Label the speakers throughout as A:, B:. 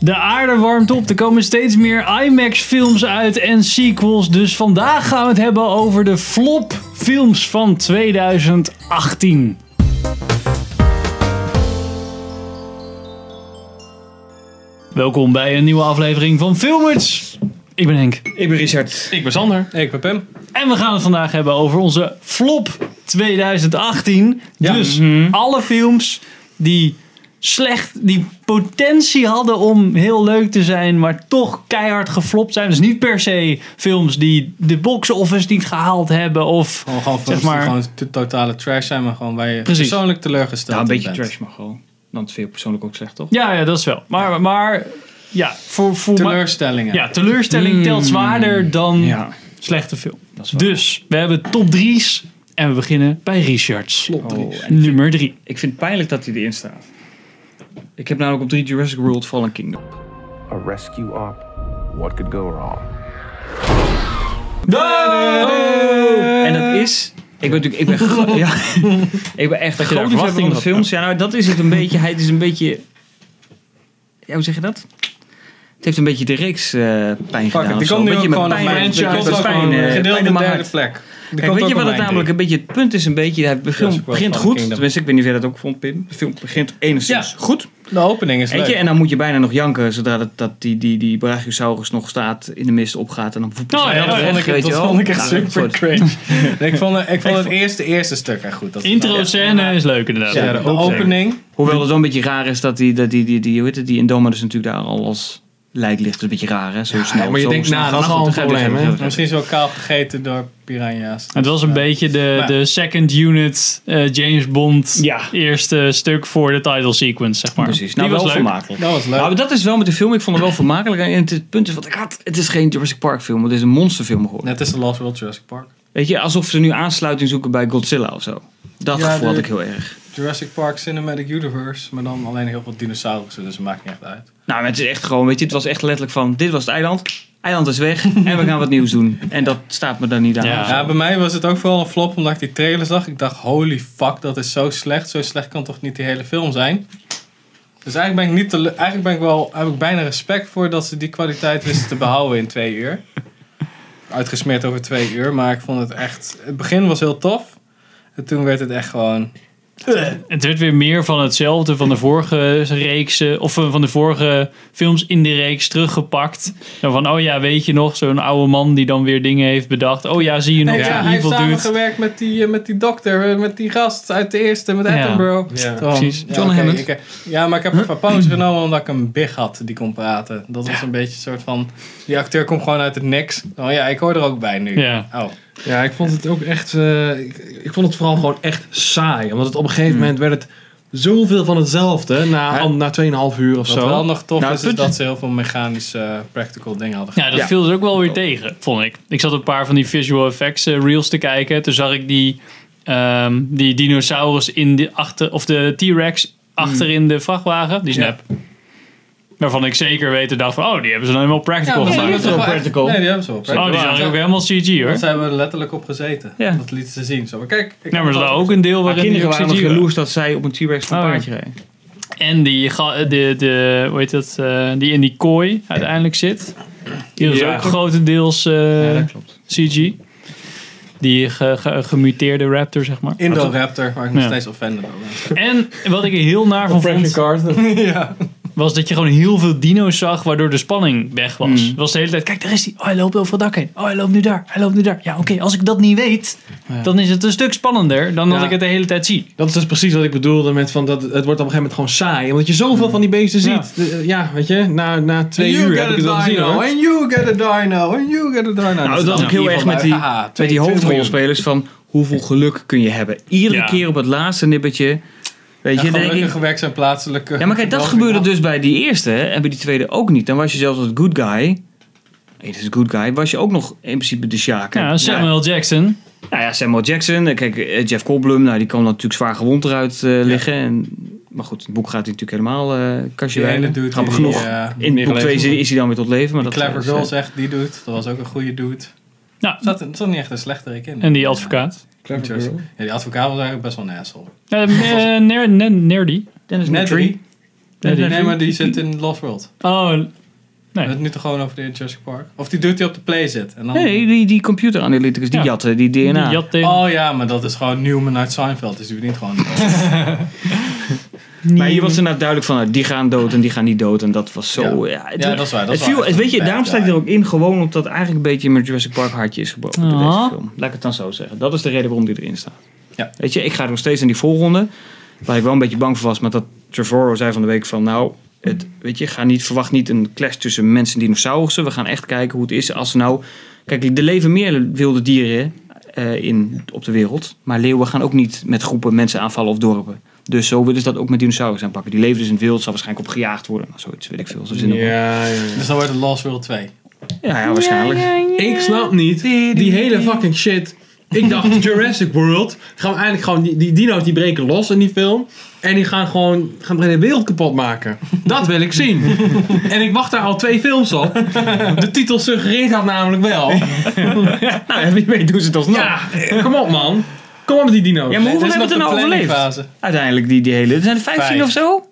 A: De aarde warmt op, er komen steeds meer IMAX-films uit en sequels. Dus vandaag gaan we het hebben over de flop-films van 2018. Welkom bij een nieuwe aflevering van Filmers. Ik ben Henk.
B: Ik ben Richard.
C: Ik ben Sander.
D: Ik ben Pim.
A: En we gaan het vandaag hebben over onze flop 2018. Dus alle films die slecht, die potentie hadden om heel leuk te zijn, maar toch keihard geflopt zijn. Dus niet per se films die de box office niet gehaald hebben of
D: Gewoon, gewoon,
A: Zeg
D: zeg
A: maar-
D: gewoon to- totale trash zijn, maar gewoon waar je
A: Precies.
D: persoonlijk teleurgesteld
B: Nou, een
D: in
B: beetje
D: bent.
B: trash mag wel. Dan vind je persoonlijk ook slecht, toch?
A: ja, ja, dat is wel. Maar, maar ja, voor, voor
D: Teleurstellingen.
A: ja, teleurstelling telt zwaarder dan slechte film.
B: dat is waar.
A: Dus we hebben top 3's en we beginnen bij Richards.
B: Slot drie.
A: Nummer 3.
B: Oh, Ik vind het pijnlijk dat hij erin staat. Ik heb namelijk op 3 Jurassic World Fallen Kingdom.
E: a rescue op. What could go wrong?
B: En dat
D: Eh.
B: is... Ik ben natuurlijk... Ik ben, gro- ja, ik ben echt een groot liefhebber van de films. Ja, nou, dat is het een beetje. Hij is een beetje... Ja, hoe zeg je dat? Het heeft een beetje de reeks eh, pijn
D: Fuck
B: gedaan.
D: it,
B: of
D: die
B: zo.
D: komt
B: Een
D: nu ook
B: beetje met
D: gewoon op
B: pijn-
D: mijn
B: beetje
D: Die komt
B: met
D: ook
B: pijn,
D: gewoon
B: eh, pijn in
D: gedeelde
B: mijn
D: derde
B: hart.
D: plek. Die
B: Kijk,
D: komt
B: weet je
D: ook
B: wat
D: op
B: het
D: mijn
B: namelijk een beetje het punt is? Een beetje, hij begint,
D: Jurassic World
B: begint
D: Fallen
B: goed.
D: Kingdom.
B: Tenminste, ik weet niet of jij dat ook vond, Pim. De film begint enigszins
D: Ja.
B: goed.
D: drie. De opening is
B: Weet je,
D: leuk.
B: en dan moet je bijna nog janken zodra dat, dat die, die, die Brachiosaurus nog staat, in de mist opgaat. En dan voep
A: Oh, ja,
D: Dat vond ik, dat vond ik echt super cringe. Nee, ik vond, ik vond het eerste, eerste stuk echt goed. Dat is
A: Intro
D: wel-
A: scène is leuk inderdaad.
D: Ja, de opening.
B: Hoewel het wel een beetje raar is dat die, dat die, die, die, hoe heet het, die Indominus natuurlijk daar al als lijk ligt. Dat is een beetje raar, hè? Zo snel.
C: maar je
B: zo
C: denkt,
B: snel.
C: nou, dat is
B: Maar
C: al
B: goed,
C: een
B: begrijp ik,
C: probleem,
B: begrijp ik, begrijp
D: Misschien is wel kaal gegeten door piranha's.
A: Het was een beetje de,
D: Maar-
A: de second unit eh, James Bond
B: Ja.
A: eerste stuk voor de title sequence, zeg maar.
B: ik. Precies. Nou,
A: Die
B: wel
A: was leuk.
B: vermakelijk.
D: Dat was leuk.
B: Nou, maar dat is wel met de film. Ik vond het wel vermakelijk. En het, het punt is wat ik had. Het is geen Jurassic Park film. Het is een monsterfilm geworden.
D: Net als de Lost World Jurassic Park.
B: Weet je, alsof ze nu aansluiting zoeken bij Godzilla of zo. Dat
D: Ja,
B: gevoel had
D: de-
B: ik heel erg.
D: Jurassic Park Cinematic Universe, maar dan alleen heel veel dinosaurussen, dus het maakt niet echt uit.
B: Nou, maar het is echt gewoon, weet je, het was echt letterlijk van, dit was het eiland. Eiland is weg en we gaan wat nieuws doen. En dat staat me dan niet aan.
A: Ja.
B: Of zo.
D: Ja, bij mij was het ook vooral een flop omdat ik die trailer zag. Ik dacht, holy fuck, dat is zo slecht. Zo slecht kan toch niet die hele film zijn? Dus eigenlijk ben ik, niet tele- eigenlijk ben ik wel, heb ik bijna respect voor dat ze die kwaliteit wisten te behouden in twee uur. Uitgesmeerd over twee uur, maar ik vond het echt... Het begin was heel tof. En toen werd het echt gewoon...
A: Het werd weer meer van hetzelfde van de vorige reeks, eh, of eh, van de vorige films in de reeks teruggepakt. En van, oh ja, weet je nog, zo'n oude man die dan weer dingen heeft bedacht. Oh ja, zie je nog
D: Nee, ja,
A: die
D: hij heeft
A: evil dude.
D: samengewerkt met die, eh, met die dokter, eh, met die gast uit de eerste, met
A: Ja.
D: Attenborough.
C: Ja.
D: Toen-
A: Precies.
D: Ja,
B: John
D: oké,
B: Hammond.
D: ik, eh, ja, maar ik heb even pauze genomen omdat ik een big had die kon praten. Dat was een beetje een soort van... Die acteur komt gewoon uit het niks. Oh ja, ik hoor er ook bij nu.
A: Ja.
D: Oh.
C: Ja, ik vond het ook echt. eh, ik, ik vond het vooral gewoon echt saai. Omdat het op een gegeven moment werd het zoveel van hetzelfde. Na,
D: Hmm. Ja.
C: al- na 2,5 uur of
D: Wat wel
C: zo.
D: nog tof
B: Nou,
D: is,
B: het
D: is
B: punt-
D: dat ze heel veel mechanische eh, practical dingen hadden.
A: Ja, dat
B: Ja.
A: viel dus ook wel weer tegen, vond ik. Ik zat een paar van die visual effects eh, reels te kijken. Toen zag ik die, ehm, die dinosaurus in de achter, of de T-Rex
B: Mm.
A: achter in de vrachtwagen. Die
D: Ja.
A: snap. Waarvan ik zeker weten dacht van, oh, die hebben ze dan helemaal practical
D: maar die
A: gemaakt.
D: hebben ze wel echt-
B: practical.
D: Nee, die hebben ze wel practical.
A: oh, die zijn ook helemaal CG hoor.
D: Want ze hebben er letterlijk op gezeten.
B: Ja.
D: Dat lieten ze zien. Zo, maar kijk. ik
A: Ja,
D: heb
A: maar er
D: het
A: was
D: al-
A: ook een deel
B: Maar
A: waarin die
B: kinderen
A: ook
B: waren nog
A: CG waren.
B: jaloers dat zij op een T-Rex van
A: Oh, ja.
B: paardje reden.
A: En die, ga- de, de, hoe heet dat, eh, die in die kooi uiteindelijk zit. Die was
B: Ja.
A: ook grotendeels eh,
B: ja, dat klopt.
A: CG. Die ge- ge- gemuteerde raptor, zeg maar.
D: Indoraptor, waar ik nog
A: Ja.
D: steeds offended over ben.
A: En wat ik er heel naar van vond,
D: ja.
A: was dat je gewoon heel veel dino's zag, waardoor de spanning weg was.
B: Mm.
A: Het was de hele tijd, kijk daar is hij, oh hij loopt over het dak heen, oh hij loopt nu daar, hij loopt nu daar. Ja oké, als ik dat niet weet, dan is het een stuk spannender dan dat
C: Ja.
A: ik het de hele tijd zie.
C: Dat is dus precies wat ik bedoelde met van dat het wordt op een gegeven moment gewoon saai. Omdat je zoveel van die beesten
A: Ja.
C: ziet. De- eh, Ja, weet je, na, na twee
D: Hmm. you
C: uur
D: get
C: heb ik
D: a
C: het al gezien
D: dino,
C: hoor.
D: And you get a dino, and you get a dino.
B: Nou, dat
D: is
B: was ook heel
D: in
B: erg
D: ieder
B: met
D: geval
B: die,
D: bij- Haha,
B: met die
D: 22
B: hoofdrolspelers van hoeveel geluk kun je hebben. Iedere
A: Ja.
B: keer op het laatste nippertje. Weet
D: miljoen.
B: je,
D: Ja,
B: dan denk ik,
D: gelukkige werk zijn plaatselijke.
B: Ja, maar kijk, dat gebeurde dus bij die eerste hè, en bij die tweede ook niet. Dan was je zelfs als good guy. Nee, dat is good guy. Was je ook nog in principe de Sjaker.
A: Ja, Samuel Jackson.
B: Nou ja, Samuel Jackson. eh, Kijk, eh, Jeff Goldblum. Nou, die kwam dan natuurlijk zwaar gewond eruit eh, liggen. En, maar goed, het boek gaat hij natuurlijk helemaal eh kastje
D: Die ene
B: wijlen.
D: dude
B: Grappig
D: die,
B: genoeg.
D: die, eh,
B: in boek
C: meegeleefd
B: 2 is,
C: wordt.
B: is hij dan weer tot leven. Maar
D: Die
B: dat
D: clever
B: is,
D: girl
B: eh,
D: zegt, die dude, dat was ook een goede dude.
A: Nou,
D: Zat, er zat niet echt een slechterik in.
A: en die advocaat.
D: Ja, die advocaat was eigenlijk best wel een asshole.
A: Eh, eh, ner, ner, nerdy.
B: Dennis
D: Nedry.
B: Nedry.
A: Nee,
D: Nee, maar die zit in Lost World.
A: Oh,
D: We
A: nee.
D: hebben het nu toch gewoon over de Jurassic Park. Of die doet hij op de play zit. En dan...
B: Nee, die, die computer analyticus, die
A: Ja.
B: jatten, die DNA.
A: Die jat tegen-
D: Oh ja, maar dat is gewoon Newman uit Seinfeld. Dus die verdient gewoon
B: Maar hier was inderdaad duidelijk van, nou, die gaan dood en die gaan niet dood. En dat was zo... Ja, het,
D: Ja, dat is waar. Dat
B: het
D: is
B: viel,
D: waar.
B: het, weet je, daarom sta ik
D: Ja.
B: er ook in. Gewoon omdat dat eigenlijk een beetje mijn Jurassic Park hartje is gebroken door
A: Ah.
B: deze film. Laat ik het dan zo zeggen. Dat is de reden waarom die erin staat.
D: Ja.
B: Weet je, ik ga er nog steeds in die voorronde. Waar ik wel een beetje bang voor was. Maar dat Trevorrow zei van de week van, nou... Het, weet je, ga niet, verwacht niet een clash tussen mensen en dinosaurussen. We gaan echt kijken hoe het is als nou... Kijk, er leven meer wilde dieren eh, in, op de wereld. Maar leeuwen gaan ook niet met groepen mensen aanvallen of dorpen. Dus zo willen ze dat ook met dinosaurus aanpakken. Die leven dus in het wild, zal waarschijnlijk op gejaagd worden. Nou, zoiets weet ik veel. Zo zin ja.
C: Ja, ja.
D: Dus dan wordt het Lost World 2.
B: Ja, ja, waarschijnlijk.
C: Ik snap niet die hele fucking shit. Ik dacht Jurassic World. Gaan we eigenlijk gewoon die, die dino's die breken los in die film. En die gaan gewoon gaan de hele wereld kapot maken. Dat wil ik zien. En ik wacht daar al twee films op. De titel suggereert dat namelijk wel.
B: Nou, en wie weet doen ze het alsnog.
C: Ja, kom op man. Kom op met die dino's.
B: Ja, maar
D: Dit
B: hoeveel
D: is
B: hebben het er
D: nog
B: nou
D: de
B: overleefd?
D: planningfase.
B: Uiteindelijk die, die hele... Er zijn er 15
D: Vijf.
B: of zo?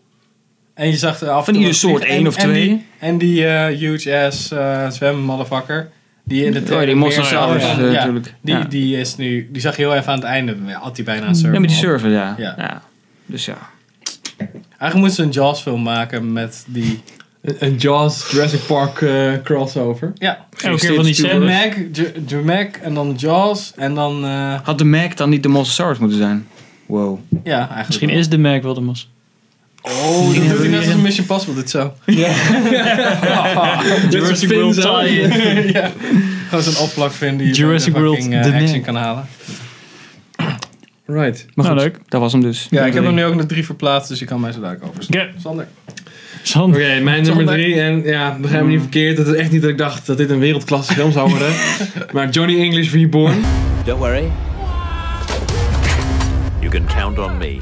D: En je zag er af en
B: Van
D: toe
B: ieder
D: wat
B: soort,
D: vliegen.
B: één
D: En-
B: of
D: en
B: twee.
D: die- En die eh, huge ass eh zwemmotherfucker. Die in de
B: Oh, die Mosasaurus
D: Ja,
B: eh,
D: ja.
B: natuurlijk.
D: Die,
B: ja.
D: die is nu, die zag je heel even aan het einde, had hij bijna een
B: ja,
D: surfer.
B: met die
D: op.
B: surfer, ja.
D: Ja.
B: ja. Dus ja.
D: Eigenlijk moeten ze een Jaws film maken met die...
C: Een, een Jaws Jurassic Park eh, crossover.
D: Ja,
A: Elke keer van die
D: de
A: scènes.
D: Mac, de- de Mac en dan Jaws en dan... eh,
B: Had de Mac dan niet de Mosasaurus moeten zijn? Wow.
D: ja, eigenlijk
A: Misschien
D: wel.
A: is de merk wel de mas.
D: Oh, dat doet hij net als een Mission Possible, dit zo.
A: Jurassic World tie-in.
D: ja. Gewoon zo'n opplakvin die je
A: Jurassic
D: bij de fucking,
A: World,
D: eh,
A: de
D: action
A: nek.
D: kan halen.
C: Right.
B: Maar
A: Nou,
B: goed,
A: leuk.
B: dat was hem dus.
D: Ja, ik heb hem nu ook naar drie verplaatst, dus je kan mij zo dadelijk over.
A: Oké.
D: Sander.
A: Sander.
C: Oké, mijn nummer drie. En ja, begrijp me niet
B: Hmm.
C: verkeerd. Het is echt niet dat ik dacht dat dit een wereldklasse film zou worden. maar Johnny English Reborn.
F: Don't worry. You can count on me.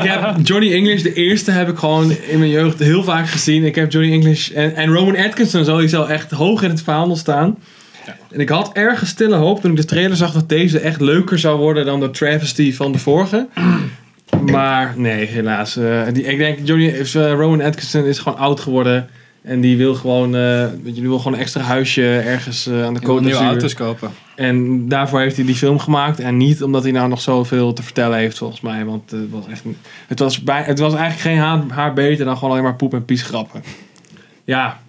C: Ik heb Johnny English, de eerste heb ik gewoon in mijn jeugd heel vaak gezien. Ik heb Johnny English en, en Roman Atkinson sowieso echt hoog in het vaandel staan. En ik had ergens stille hoop toen ik de trailer zag dat deze echt leuker zou worden dan de travesty van de vorige. Maar nee, helaas. Eh, die, ik denk, Johnny, is, eh, Rowan Atkinson is gewoon oud geworden. En die wil gewoon, eh, weet je, die wil gewoon een extra huisje ergens eh, aan de
D: Ik
C: Côte
D: nieuwe
C: d'Azur.
D: auto's kopen.
C: En daarvoor heeft hij die film gemaakt. En niet omdat hij nou nog zoveel te vertellen heeft, volgens mij. Want het was echt. een- Het was, bij, het was eigenlijk geen haar, haar beter dan gewoon alleen maar poep en pies grappen. Ja.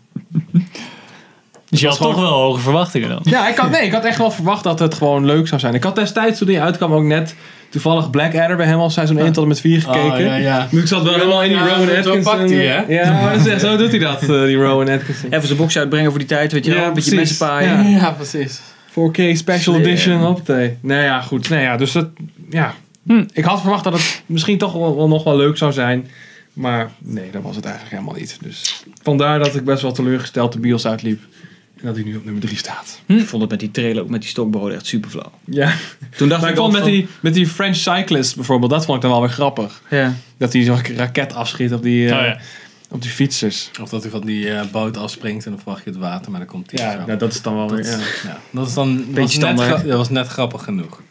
A: Dus je
C: was
A: had toch wel hoge verwachtingen dan.
C: Ja, ik had, nee, ik had echt wel verwacht dat het gewoon leuk zou zijn. Ik had destijds toen hij uitkwam ook net toevallig Blackadder bij hem al seizoen 1 tot en met 4 gekeken.
D: Oh, ja, ja.
C: Dus Ah. ik zat wel helemaal in die
D: Ja,
C: Rowan
D: zo
C: Atkinson. eh,
D: pakt hij, hè?
C: Ja, maar zo- zo doet hij dat, eh, die Rowan Atkinson.
B: Even zijn boxje uitbrengen voor die tijd, weet je
C: Ja,
B: wel. Een beetje
C: precies.
B: mensenpaaien.
C: Ja.
D: Ja, precies.
C: 4K Special
B: Slim.
C: Edition, hoppatee. Nou ja, goed. Nou ja, dus dat, ja.
A: Hm.
C: Ik had verwacht dat het misschien toch wel, wel nog wel leuk zou zijn. Maar nee, dat was het eigenlijk helemaal niet. Dus vandaar dat ik best wel teleurgesteld de bios uitliep. En dat hij nu op nummer 3 staat.
B: Ik vond het met die trailer, ook met die stokbehouden, echt super flauw.
C: Ja.
B: Toen dacht
C: Maar ik
B: ik
C: vond
B: al
C: met
B: van-
C: die, met die French Cyclist bijvoorbeeld, dat vond ik dan wel weer grappig.
B: Ja.
C: Dat hij zo'n raket afschiet op die, eh,
A: Oh ja.
C: op die fietsers.
D: Of dat hij van die eh, boot afspringt en dan verwacht je het water, maar dan komt hij
C: Ja,
D: zo.
C: nou, dat is dan wel
D: dat,
C: weer... Ja.
D: ja. dat is dan was net,
B: standaard.
D: gra- dat was net grappig genoeg.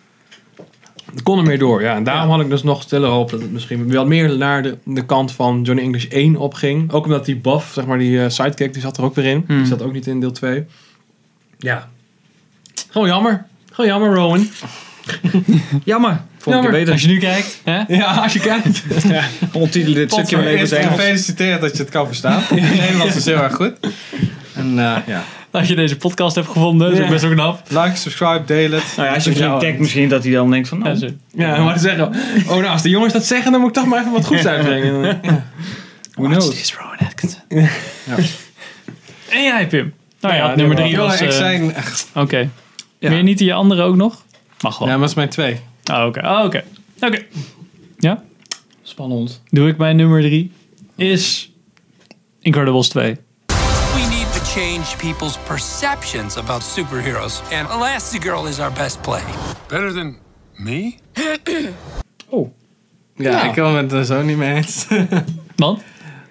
C: Er kon er meer door, ja. En daarom had ik dus nog stille hoop dat het misschien wel meer naar de, de kant van Johnny English 1 opging. Ook omdat die buff, zeg maar, die eh, sidekick, die zat er ook weer in. Die
B: Hmm.
C: zat ook niet in deel 2. Ja. Gewoon jammer. Gewoon jammer, Rowan.
B: Jammer. Vond
C: Jammer.
B: ik het
A: Als
B: beter.
A: je nu kijkt, hè?
C: Ja, als je kijkt.
B: Onttitelen dit stukje maar even
D: Eerst
B: het Engels.
D: gefeliciteerd dat je het kan verstaan. Nederlands is heel erg goed. En eh, ja,
A: Als je deze podcast hebt gevonden, is ook best wel knap.
D: like, subscribe, deel het.
B: Nou ja, als je
D: Ja,
B: vriend denkt misschien dat hij dan denkt van...
A: Ja,
B: Oh,
A: zo.
C: Ja, maar te zeggen. Oh, nou, als de jongens dat zeggen, dan moet ik toch maar even wat goeds uitbrengen.
B: who
A: Watch
B: knows?
A: this, Rowan Atkinson. En jij, Pim. Nou ja,
C: Ja,
A: nummer
C: nee,
A: drie
D: Jongen,
A: was...
D: ik
A: eh,
D: zijn...
A: Oké. Wil je niet die andere ook nog? Mag wel.
D: Ja, maar dat is mijn twee.
A: Ah, oké. Ah, oké. Oké. Ja?
C: Spannend.
A: Doe ik mijn nummer drie. Is Incredibles 2.
G: We need to change people's perceptions about superheroes, and Elastigirl is our best play.
H: Better than me?
D: Ja, ik kan het er zo niet mee eens.
A: Want?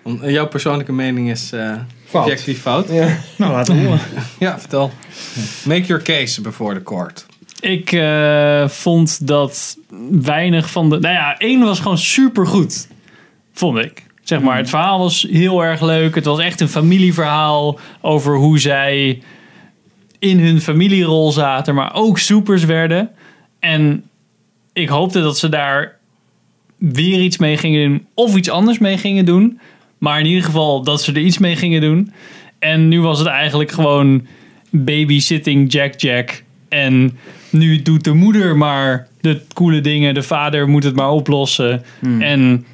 D: Om- Jouw persoonlijke mening is eh
C: Fout.
D: objectief fout. Ja.
C: Ja.
B: Nou, laten we horen.
D: vertel. Make your case before the court.
A: Ik eh, vond dat weinig van de... Nou ja, één was gewoon supergoed. Vond ik. Zeg maar, het verhaal was heel erg leuk. Het was echt een familieverhaal over hoe zij in hun familierol zaten, maar ook supers werden. En ik hoopte dat ze daar weer iets mee gingen doen of iets anders mee gingen doen. Maar in ieder geval dat ze er iets mee gingen doen. En nu was het eigenlijk gewoon babysitting Jack Jack. En nu doet de moeder maar de coole dingen. De vader moet het maar oplossen. En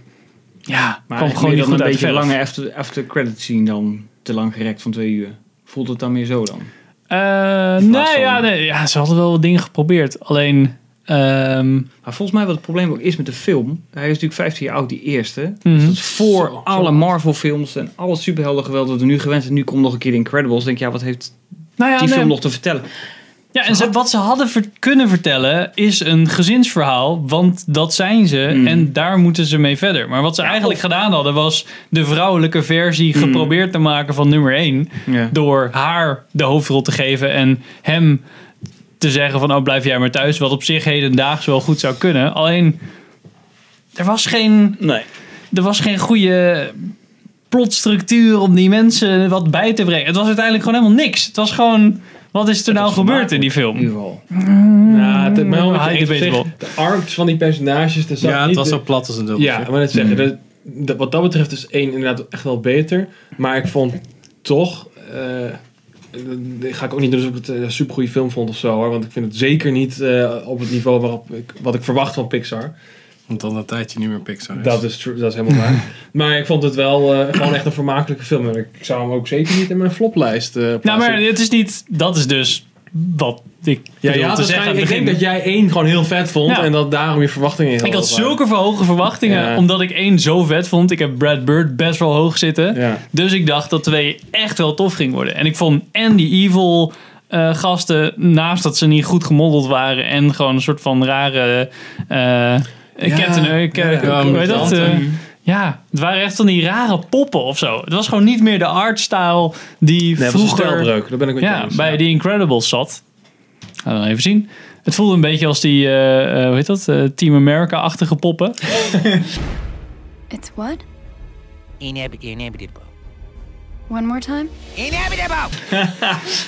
A: ja,
B: Hmm. Maar
A: kwam gewoon
B: ik vind
A: niet
B: dan
A: goed uit de
B: een beetje
A: verf.
B: lange after, after credit scene dan te lang gerekt van twee uur. Voelt het dan meer zo dan?
A: Eh, nee,
B: van-
A: ja, nee, ja, ze hadden wel wat dingen geprobeerd. Alleen, ehm,
B: Maar volgens mij wat het probleem ook is met de film. Hij is natuurlijk 15 jaar oud, die eerste.
A: Hm. Mhm.
B: Dus dat is voor alle Marvel films en alle superhelden geweld dat we nu gewend zijn. Nu komt nog een keer de Incredibles. Denk je, ja, wat heeft
A: nou ja,
B: die
A: nee.
B: film nog te vertellen?
A: Ja, en ze, wat ze hadden ver- kunnen vertellen is een gezinsverhaal, want dat zijn ze
B: Mhm.
A: en daar moeten ze mee verder. Maar wat ze eigenlijk gedaan hadden was de vrouwelijke versie geprobeerd te maken van nummer 1
B: Mhm. Ja.
A: door haar de hoofdrol te geven en hem te zeggen van oh blijf jij maar thuis, wat op zich hedendaags wel goed zou kunnen. Alleen er was geen
B: Nee.
A: er was geen goede plotstructuur om die mensen wat bij te brengen. Het was uiteindelijk gewoon helemaal niks. Het was gewoon, wat is er nou gebeurd in die
B: In ieder
A: film?
B: geval.
C: Ja, het, maar
A: hij
C: Mm. ik
A: deed
C: zeg,
A: wel.
C: de arcs van die personages. Er zat
D: Ja,
C: niet
D: het was Hmm.
C: de-
D: zo plat als een dubbeltje.
C: Ja, ik wou net zeggen. dat- dat- wat dat betreft is één inderdaad echt wel beter. Maar ik vond toch... eh, dat ga ik ook niet doen alsof ik het een supergoeie film vond of zo hoor. Want ik vind het zeker niet eh, op het niveau waarop ik, wat ik verwacht van Pixar.
D: Want dan een tijdje niet meer Pixar is.
C: Dat is, true, dat is helemaal waar. maar ik vond het wel eh, gewoon echt een vermakelijke film. En ik zou hem ook zeker niet in mijn floplijst eh plaatsen.
A: Nou, maar het is niet, dat is dus wat ik
C: ja,
A: bedoel
C: ja,
A: te zeggen aan het
C: ik denk
A: begin.
C: dat jij één gewoon heel vet vond.
A: Ja.
C: En dat daarom je verwachtingen in
A: Ik had
C: waren.
A: zulke hoge verwachtingen,
C: Ja.
A: omdat ik één zo vet vond. Ik heb Brad Bird best wel hoog zitten.
C: Ja.
A: Dus ik dacht dat twee echt wel tof ging worden. En ik vond en die evil eh, gasten, naast dat ze niet goed gemodeld waren en gewoon een soort van rare eh Captain eh, ca-
D: ja,
A: hoe heet dat?
D: mutanten.
A: Eh, ja, het waren echt van die rare poppen of zo. Het was gewoon niet meer de artstyle die
C: Nee, vroeger...
A: vroeger
C: stelbreuk. Daar ben ik met je
A: ja,
C: eens.
A: bij The Incredibles zat. Gaan we dan even zien. Het voelde een beetje als die, eh, eh, hoe heet dat, eh, Team America-achtige poppen.
I: It's what?
F: Inhab- inhabitable.
I: One more time?
F: Inhabitable!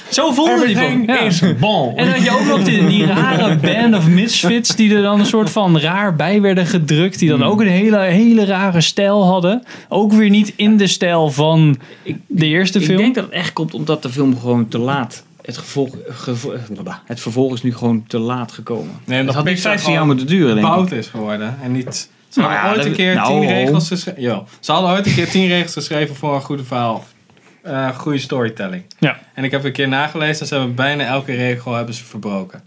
A: Zo voelde die
C: Everything
A: poppen. Ja.
C: is bon.
A: En dan had je ook nog die, die rare band of misfits die er dan een soort van raar bij werden gedrukt. Die dan ook een hele, hele rare stijl hadden. Ook weer niet in de stijl van de eerste
B: Ik
A: film.
B: denk dat het echt komt omdat de film gewoon te laat. Het, gevolg, gevo- eh, het vervolg is nu gewoon te laat gekomen.
D: Nee,
B: Het
D: dat
B: had niet
D: Pixar
B: 15
D: gewoon
B: jaar moeten duren, denk ik.
D: bout is geworden. En niet... Ze
B: Nou
D: hadden
B: ja,
D: ooit een
B: dat-
D: keer
B: nou,
D: tien
B: ho.
D: regels geschreven. Ja, ze hadden ooit een keer tien regels geschreven voor een goede verhaal. Eh, goede storytelling.
A: Ja.
D: En ik heb een keer nagelezen en ze hebben bijna elke regel hebben ze verbroken.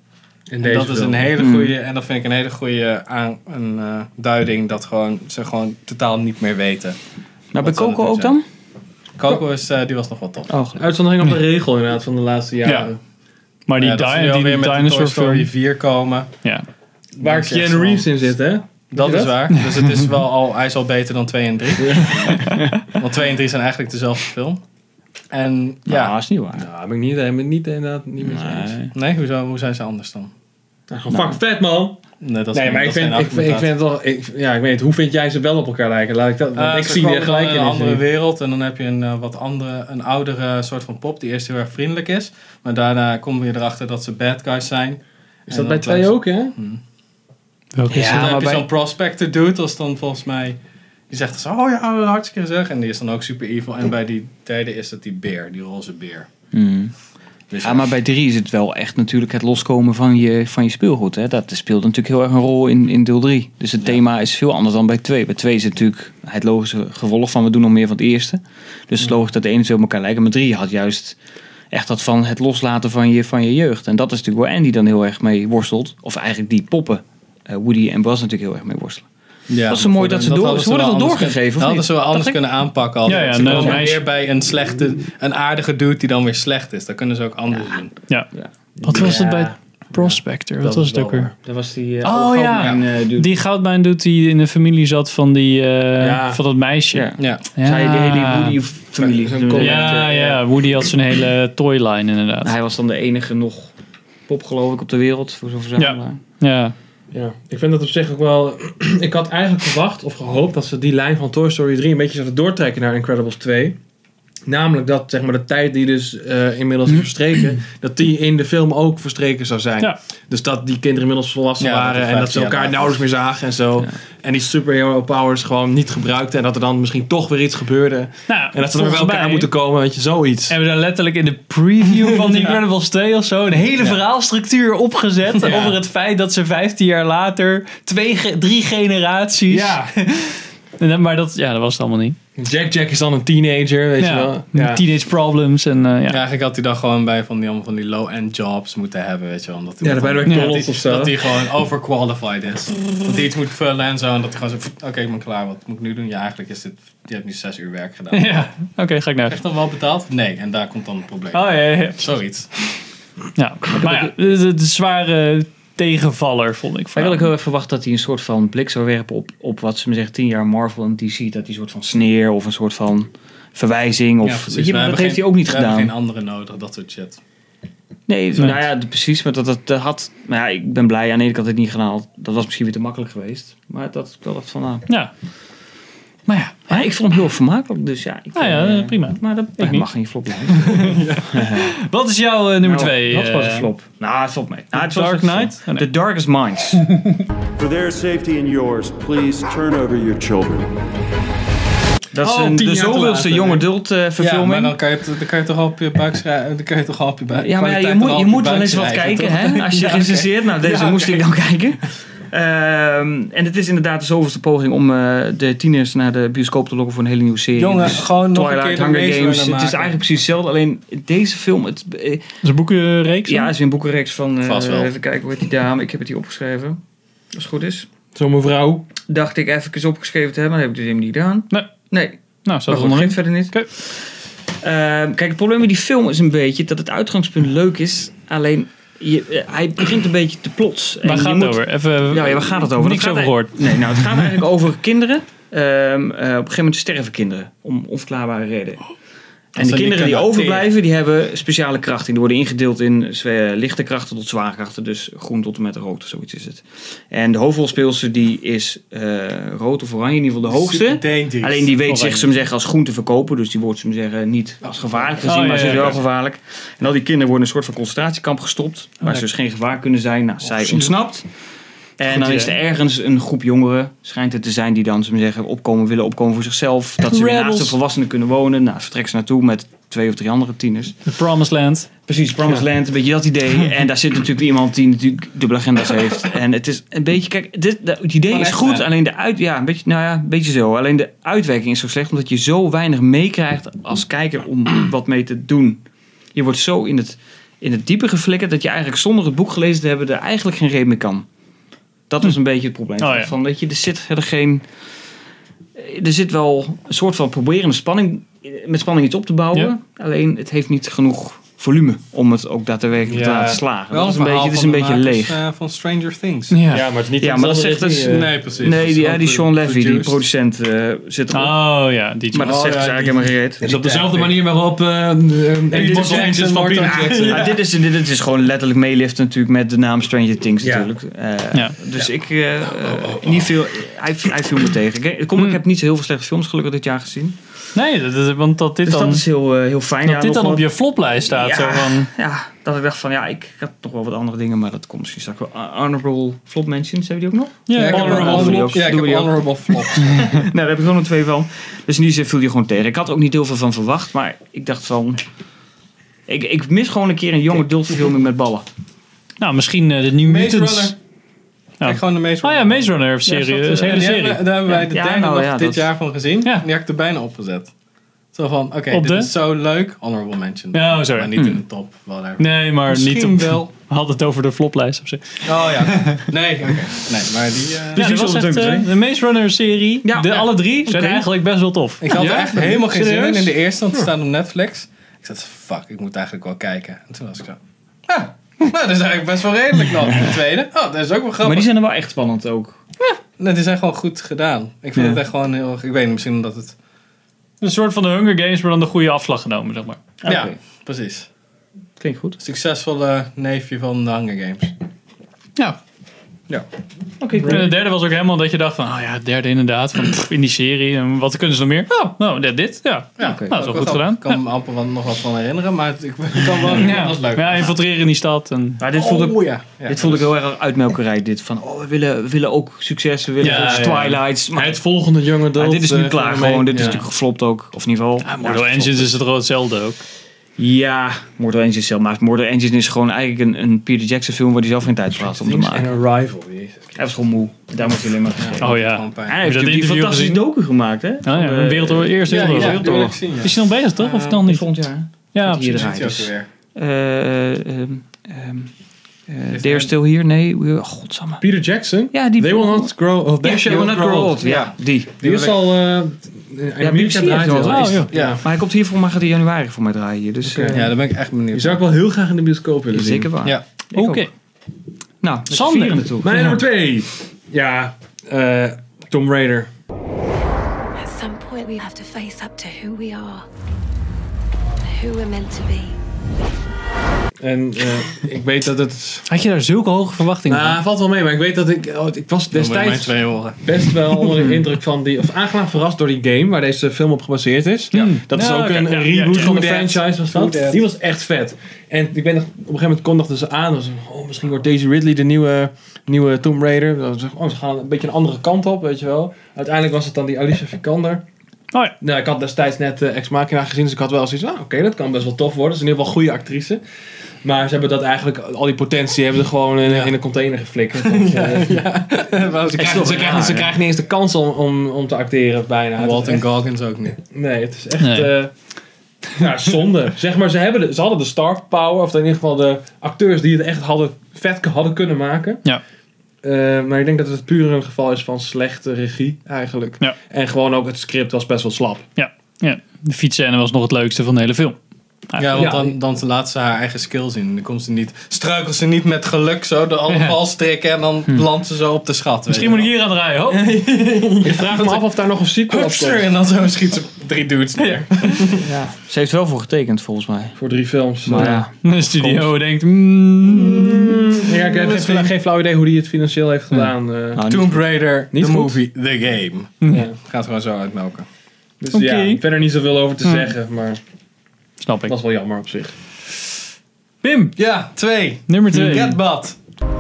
C: In
D: En
C: deze
D: dat is
C: film.
D: een hele
A: Mm.
D: goede, en dat vind ik een hele goede aan, een, eh, duiding dat gewoon, ze gewoon totaal niet meer weten.
B: Nou, bij
D: Wat zou dat
B: Coco
D: nu
B: ook
D: zijn?
B: dan?
D: Coco is, eh, die was nog wel tof.
B: Oh,
C: Uitzondering op de regel inderdaad van de laatste jaren.
A: Ja. Maar die,
D: Ja, Eh, dat
A: di-
D: ze nu
A: die
D: alweer met de
A: dinosaur
D: Toy Story
A: film.
D: 4 komen.
A: Ja.
C: Waar
D: Dat is echt
C: Keanu
D: wel-
C: Reeves in zit, hè?
D: Dat
C: je
D: is
C: dat?
D: waar. Dus het is wel al, hij is al beter dan 2 en 3. Want 2 en 3 zijn eigenlijk dezelfde film. En
B: Ja,
D: ja,
B: Ah, is niet waar.
C: Nou, ben ik niet, ben ik niet inderdaad niet met je eens.
D: nee, hoezo, hoe zijn ze anders dan?
C: Nou, gewoon Nou, fucking vet, man.
D: Nee, dat is
C: Nee, maar ik
D: dat is
C: vind,
D: geen
C: ik, vind- ik
D: argumentatie.
C: vind het wel... Ik, ja, ik weet niet. Hoe vind jij ze wel op elkaar lijken? Laat ik dat... want
D: Eh,
C: ik
D: ze
C: zie er
D: komen dan
C: gelijk
D: in
C: in.
D: een andere
C: in zin.
D: wereld en dan heb je een eh, wat andere, een oudere eh, soort van pop die eerst heel erg vriendelijk is, maar daarna kom je erachter dat ze bad guys zijn.
C: Is dat bij twee ook, hè?
A: Welke is
D: Ja,
A: het?
D: dan
B: maar
D: heb je
B: bij-
D: zo'n prospector dude als dan volgens mij die zegt zo, oh ja, hartstikke zeg, en die is dan ook super evil. En bij die derde is dat die beer, die roze beer. Dus
B: Ja, maar bij drie is het wel echt natuurlijk het loskomen van je, van je speelgoed. Hè? Dat speelt natuurlijk heel erg een rol in, in deel 3. Dus het thema is veel anders dan bij 2. Bij 2 is het natuurlijk het logische gevolg van we doen nog meer van het eerste. Dus het is logisch dat de ene zo op elkaar lijken. Maar 3 had juist echt dat van het loslaten van je, van je jeugd. En dat is natuurlijk waar Andy dan heel erg mee worstelt. Of eigenlijk die poppen. eh, Woody en Bas natuurlijk heel erg mee worstelen.
D: Ja,
B: Dat is
D: maar
B: mooi
D: voor
B: dat
D: de-
B: ze door-
D: hadden
B: ze worden
D: wel
B: wel
D: anders
B: doorgegeven,
D: kunnen-
B: of
D: hadden
B: niet?
D: ze wel anders
B: ik?
D: kunnen aanpakken. Al
A: Ja, ja,
D: ze
A: nou,
D: komen
A: hij is-
D: weer bij een slechte, een aardige dude die dan weer slecht is. Dat kunnen ze ook anders doen.
A: Ja. Wat was het bij Prospector? Wat was het ook weer?
B: Dat was die... eh,
A: Oh ja, die goudmijn doet die in de familie zat van, die, eh,
C: Ja.
A: van dat meisje.
B: Ja.
D: Ja.
A: Ja.
B: Zij de hele Woody-familie.
C: Zo'n collector,
A: Ja, ja, Woody had zijn hele toyline inderdaad.
B: Hij was dan de enige nog pop geloof ik op de wereld. Voor zo'n verzamelaar.
A: Ja.
C: Ja, ik vind dat op zich ook wel. ik had eigenlijk verwacht of gehoopt dat ze die lijn van Toy Story 3 een beetje zouden doortrekken naar Incredibles 2. Namelijk dat zeg maar, de tijd die dus eh, inmiddels is verstreken, dat die in de film ook verstreken zou zijn.
A: Ja.
C: Dus dat die kinderen inmiddels volwassen
D: Ja, dat
C: waren
D: het
C: en dat ze
D: vijftien
C: elkaar
D: jaar
C: nauwelijks meer zagen en zo. En die superhero powers gewoon niet gebruikten en dat er dan misschien toch weer iets gebeurde.
A: Nou,
C: En dat ze er bij
A: volgens
C: elkaar
A: mij
C: moeten komen, weet je, zoiets.
A: Hebben we daar letterlijk in de preview van The Incredibles 2 of zo een hele verhaalstructuur opgezet over het feit dat ze 15 jaar later twee, ge- drie generaties. En dan- maar dat, ja, dat was het allemaal niet.
C: Jack Jack is dan een teenager, weet
A: Ja,
C: je wel.
A: met
C: Ja.
A: Teenage problems en eh, ja.
D: Ja, eigenlijk had hij dan gewoon bij van die, allemaal van die low-end jobs moeten hebben, weet je wel. Omdat hij
C: Ja,
D: dat
C: bij de
D: dan-
C: McDonald's
D: dat
C: of
D: hij-
C: zo.
D: Dat hij gewoon overqualified is. Dat hij iets moet vullen en zo. En dat hij gewoon zo, pff, oké, ik ben klaar. Wat moet ik nu doen? Ja, eigenlijk is dit, je hebt nu zes uur werk gedaan. Heb
A: Ja, oké, ga ik naar
D: je
A: huis.
D: dan wel betaald? Nee, en daar komt dan het probleem.
A: Oh ja, ja, ja.
D: Zoiets.
A: ja. Maar ja, het, het is zware tegenvaller vond ik.
B: Eigenlijk had
A: vooral.
B: ik heel erg verwacht dat hij een soort van blik zou werpen op, op wat ze me zeggen, 10 jaar Marvel en DC. Dat hij een soort van sneer of een soort van verwijzing. Of,
D: Ja,
B: weet
D: precies. We
B: je, dat
D: hebben
B: heeft
D: geen-
B: hij ook niet
D: we
B: gedaan.
D: hebben geen andere nodig, dat soort shit.
B: Nee,
A: Nee.
B: nou ja, d- precies. Maar dat, dat, dat had. Nou ja, ik ben blij aan de ene kant dat het niet gedaan had. Dat was misschien weer te makkelijk geweest. Maar dat, dat dacht van. Nou,
A: Ja. Maar ja,
B: ja, ik vond hem heel vermakelijk. Dus ja, ik,
A: nou ja,
B: eh,
A: eh, prima.
B: Maar dat ja,
A: niet.
B: mag geen flop blijven. Nummer
A: Wat is jouw eh, nummer 2?
B: Dat was een flop. Nou, het valt mee. Nou, het was
A: Dark
B: een flop.
A: Knight? Oh, nee.
B: The Darkest Minds.
J: For their safety and yours, please turn over your children.
B: Dat is
C: Oh,
B: een,
C: tien
B: de
C: jaar te laat,
B: zoveelste
C: hè?
B: jonge adult eh,
D: Ja, maar
B: verfilming.
D: dan kan, je het, dan kan je toch al op je buik schrijven. Dan kan je toch al op je buik.
B: Eh, Ja, maar ja, je
D: kwaliteit al
B: moet, je
D: op
B: moet
D: buik
B: wel eens wat
D: schrijven,
B: kijken,
D: toch?
B: hè? Als je
D: Ja, oké.
B: recenseert. Nou, deze
D: Ja,
B: moest
D: oké.
B: ik dan kijken. Ehm, en het is inderdaad de zoveelste poging om eh, de tieners naar de bioscoop te lokken voor een hele nieuwe serie.
D: Jongen,
B: Dus
D: gewoon nog een
B: Twilight,
D: keer de
B: Hunger
D: Maze
B: Games. Het
D: Runner
B: is
D: maken.
B: eigenlijk precies hetzelfde. Alleen deze film, het, eh,
A: Dat is een boekenreeks. Nou,
B: ja, is weer een boekenreeks van. eh,
D: Vast wel.
B: even kijken hoe heet die dame. Ik heb het hier opgeschreven. Als het goed is.
C: Zo'n mevrouw.
B: Dacht ik even opgeschreven te hebben, maar dat heb ik dus helemaal niet gedaan.
A: Nee.
B: Nee,
A: Nou, staat
B: maar
A: er
B: goed,
A: onderin.
B: geeft verder niet.
A: Oké.
B: Ehm, kijk, het probleem met die film is een beetje dat het uitgangspunt leuk is. Alleen, je, eh, hij begint een beetje te plots. En
A: Waar
B: je
A: gaat het
B: moet-
A: over? Even,
B: Ja, ja, waar gaat het over?
A: Niks
B: Dat
A: over
B: gaat
A: gehoord.
B: Nee, nou, het gaat eigenlijk over kinderen. Ehm, eh, op een gegeven moment sterven kinderen. Om onverklaarbare redenen.
A: Oh.
B: En de
D: niet
B: kinderen die
D: kunnen
B: overblijven, die hebben speciale krachten. Die worden ingedeeld in zwe- lichte krachten tot zware krachten. Dus groen tot en met rood, zoiets is het. En de hoofdrolspeelster die is eh, rood of oranje, in ieder geval de hoogste.
D: Super dangerous.
B: Alleen die weet
D: Oranje.
B: zich, ze maar zeggen, als groen te verkopen. Dus die wordt, ze maar zeggen, niet als gevaarlijk gezien,
A: Oh, ja,
B: maar ze is
A: ja,
B: wel
A: ja.
B: gevaarlijk. En al die kinderen worden in een soort van concentratiekamp gestopt.
A: Oh,
B: Waar ze dus geen gevaar kunnen zijn. Nou, zij ontsnapt. En dan is er ergens een groep jongeren, schijnt het te zijn, die dan, ze maar zeggen, opkomen willen opkomen voor zichzelf. Dat ze weer naast de volwassenen kunnen wonen. Nou, vertrekt ze naartoe met twee of drie andere tieners.
A: The Promised Land.
B: Precies, Promised Land, een beetje dat idee. En daar zit natuurlijk iemand die natuurlijk dubbele agenda's heeft. En het is een beetje, kijk, dit, de- het idee is goed, alleen de uit, ja, een beetje, nou ja, een beetje zo. Alleen de uitwerking is zo slecht, omdat je zo weinig meekrijgt als kijker om wat mee te doen. Je wordt zo in het, in het diepe geflikkerd dat je eigenlijk zonder het boek gelezen te hebben er eigenlijk geen reden meer kan. Dat is een beetje het probleem.
A: Oh ja.
B: Van, weet je, er zit verder geen, er zit wel een soort van proberende spanning, met spanning iets op te bouwen. Alleen het heeft niet genoeg volume om het ook daadwerkelijk te
D: Ja.
B: laten slagen.
D: Wel
B: dat is een beetje,
D: verhaal
B: het is
D: van
B: een
D: de
B: beetje
D: makers,
B: leeg.
D: eh, van Stranger Things.
A: Ja.
C: Ja, maar het is niet
B: Ja, maar dat
C: hetzelfde
B: zegt dus-
C: die, eh,
D: Nee, precies. Dat
B: nee,
D: is
B: die, ja,
D: ook
B: die
D: een
B: Sean Levy, die
D: produced.
B: producent, eh, zit erop.
A: Oh ja, die.
B: maar dat
D: Oh,
B: zegt
D: ja,
B: dus eigenlijk helemaal geen reet.
C: Dus op dezelfde
D: Ja,
C: manier waarop eh, eh,
D: dit
C: Peter
D: is
C: Jackson
D: Jackson,
C: van Peter
D: Martin
C: Jackson.
B: Maar dit, is, dit, is gewoon letterlijk meeliften natuurlijk met de naam Stranger Things natuurlijk. Eh,
A: Ja.
B: Dus ik, eh, eh, niet veel, hij, hij viel me tegen. Ik- Ik, kom, ik heb niet zo heel veel slechte films gelukkig dit jaar gezien.
A: Nee, dat, is- want dat dit
B: Dus
A: dan,
B: dat
A: dat
B: is heel, eh, heel fijn. Ja,
A: dit
B: nog
A: dan
B: wat-
A: op je floplijst staat.
B: Ja.
A: Zo van,
B: Ja, dat ik dacht van ja, ik had nog wel wat andere dingen, maar dat komt misschien straks wel. Uh, Honorable flop mentions, hebben die ook nog?
A: ja,
D: Ja, ik heb
A: honorable.
D: honorable
B: Doe die ook.
D: flops. Ja, ik
B: Doe
D: heb
B: die ook.
D: honorable flops.
B: nou, daar heb ik gewoon nog twee van. Dus in die zin viel die gewoon tegen. Ik had er ook niet heel veel van verwacht, maar ik dacht van... Ik, ik mis gewoon een keer een jonge adultverfilming met ballen.
A: Nou, misschien eh, de New
D: Maze
A: Mutants.
D: Runner. Kijk gewoon de meest.
A: Oh ja, Maze Runner serie. is een hele serie.
D: daar hebben wij de
B: Ja,
D: derde
B: nou
D: nog
B: ja,
D: dit
B: dat-
D: jaar van gezien.
A: Ja.
D: Die heb ik er bijna opgezet. Zo van, oké,
A: Op
D: dit
A: de?
D: is zo leuk. Honorable mention.
A: Ja, oh, sorry.
D: Maar niet in de top. Whatever.
A: Nee, maar niet
D: Misschien
A: op.
D: wel.
A: We hadden het over de floplijst op zich.
D: Oh ja. Nee, oké. Nee, maar die... eh,
A: Ja, dat was echt, eh, de Maze Runner serie.
B: Ja.
A: de
B: Ja.
A: alle drie zijn
B: Oké.
A: eigenlijk best wel tof.
D: Ik had er echt helemaal geen zin in
A: Serieus?
D: in de eerste, want het staat op Netflix. Ik dacht, fuck, ik moet eigenlijk wel kijken. En toen was ik zo, ah, nou, dat is eigenlijk best wel redelijk dan. De tweede, oh, dat is ook wel grappig.
B: Maar die zijn er wel echt spannend ook.
D: Nee, die zijn gewoon goed gedaan. Ik vind het echt gewoon heel erg, ik weet niet, misschien omdat het...
A: Een soort van de Hunger Games, maar dan de goede afslag genomen, zeg maar.
D: Ja,
B: Oké.
D: precies.
B: Klinkt goed.
D: Succesvolle neefje van de Hunger Games.
A: Ja.
C: Ja.
A: En de derde was ook helemaal dat je dacht van, oh ja, het derde inderdaad, van, pff, in die serie. En wat kunnen ze nog meer? Oh, nou, dit, dit, ja. ja
D: Oké.
A: Nou, dat is wel goed
D: Ik
A: gedaan.
D: kan me amper wel- nog wat van herinneren, maar het- ik kan wel
A: Ja,
D: dat is leuk.
A: ja, infiltreren in die stad. En,
B: Maar dit voelde ik,
D: Oh, ja. Ja.
B: dit voelde ik heel erg uitmelkerij. Dit van, oh, we willen, we willen ook succes, we willen
A: Ja,
B: volgens
A: ja, ja.
B: Twilights. Maar,
C: Het volgende jonge
B: maar
C: adult.
B: dit is nu
C: eh,
B: klaar
C: fenomeen.
B: gewoon. Dit is
C: Ja.
B: natuurlijk geflopt ook. Of in ieder geval...
A: ja, Ah, Mortal Engines is het er wel hetzelfde ook.
B: Ja, Mortal Engines is zelf. Maar Mortal Engines is gewoon eigenlijk een, een Peter Jackson film waar hij zelf geen tijd voor had om te maken.
C: En Arrival, jezus.
B: Hij was gewoon moe. Daar moet hij alleen maar gezeten.
A: Oh ja.
D: Gewoon pijn.
B: Hij
A: Heb je
B: heeft
A: dat
B: natuurlijk die
A: interview
B: fantastische
A: gezien?
B: docu gemaakt, hè? eh,
A: Oh ja, een wereldoorlog, eerste
D: Ja, ja,
A: wereldoorlog.
D: ja, die wil ik zien, ja.
A: Is hij nog bezig, toch? Of dan niet?
B: Volgend jaar.
A: Ja,
B: dat hier
A: precies.
B: draait.
D: Ziet hij ook
B: Dus,
D: weer.
B: eh, ehm, ehm, eh,
D: Is
B: They are
D: hij-
B: still here? Nee. we- oh, godsamme.
C: Peter Jackson.
B: Ja, die...
C: They will not grow old.
B: Ja, They Will Not Grow Old. Ja, die.
C: Die is al... eh, in
B: BBC
C: Amerika
B: heeft
C: draait hij
B: wel
C: al.
B: eens.
A: Oh, joh.
D: Ja.
B: Maar hij komt hier voor mij gaat hij in januari voor mij draaien hier. Dus
C: Oké.
B: eh,
D: ja, daar ben ik echt
C: Die
D: benieuwd.
C: zou ik wel heel graag in de bioscoop willen
B: is
C: zien.
B: zeker waar.
D: Ja.
B: Ik
A: Oké.
B: ook. Nou, met
A: Sander.
B: vieren naartoe.
C: Mijn nummer twee. Ja, eh Tom Raider.
I: At some point, we have to face up to who we are, who we're meant to be.
C: En eh, ik weet dat het...
A: Had je daar zulke hoge verwachtingen van?
C: Nou, valt wel mee, maar ik weet dat ik... oh, ik was
D: Dan wil je mijn
C: destijds
D: twee horen.
C: best wel onder de indruk van die... Of aangenaam verrast door die game waar deze film op gebaseerd is. Dat is
A: Ja,
C: ook
A: oké,
C: een,
A: ja,
C: een
A: ja,
C: reboot
A: ja.
C: van de
A: Who dat?
C: franchise was dat. Die was echt vet. En ik ben nog, op een gegeven moment kondigden ze aan. dat ze, oh, misschien wordt Daisy Ridley de nieuwe, nieuwe Tomb Raider. Dan zeg ik, oh, ze gaan een beetje een andere kant op, weet je wel. Uiteindelijk was het dan die Alicia Vikander.
A: Oh ja.
C: Nou, ik had destijds net eh, Ex Machina gezien, dus ik had wel zoiets van, ah, oké, dat kan best wel tof worden. Ze is in ieder geval goede actrice. Maar ze hebben dat eigenlijk, al die potentie hebben ze gewoon in, in een container geflikkerd. Want, eh, Ze, krijgen, ze, krijgen, ze krijgen niet eens de kans om, om, om te acteren, bijna. Het is
D: Walton
C: echt-
D: Goggins ook niet.
C: Nee, het is echt
A: Nee.
C: eh, ja, zonde. zeg maar, ze, hebben de- ze hadden de star power, of in ieder geval de acteurs die het echt hadden, vet k- hadden kunnen maken.
A: Ja.
C: Eh, maar ik denk dat het puur een geval is van slechte regie, eigenlijk.
A: Ja.
C: En gewoon ook het script was best wel slap.
A: Ja, de fietsscène was nog het leukste van de hele film.
D: Ah, Ja, want
C: Ja.
D: dan, dan laat ze haar eigen skill zien. Dan komt ze niet, struikelt ze niet met geluk zo door alle
A: Ja.
D: valstrikken en dan landt ze zo op de schat. weet
A: Misschien
D: je
A: moet ik
D: wel.
A: hier aan draaien, hoor. Ja,
C: Ik vraag me af of daar nog een sequel op
D: Hupster,
C: komt.
D: en dan zo schiet ze drie dudes neer.
B: Ze heeft wel voor getekend, volgens mij.
C: Voor drie films.
B: Maar
C: Ja.
B: Nou ja.
A: De studio denkt... mm,
C: Ja, ik heb geen, fla- geen flauw idee hoe die het financieel heeft gedaan. eh.
B: nou,
D: Tomb Raider,
C: Niet
D: the
C: goed.
D: movie, the game.
C: Ja.
D: Gaat gewoon zo uitmelken.
C: Dus
A: Oké.
C: ja, verder niet zoveel over te zeggen, maar
A: Snap ik.
C: dat is wel jammer op zich.
A: Pim,
D: Ja, twee.
A: nummer twee.
D: Red Bad.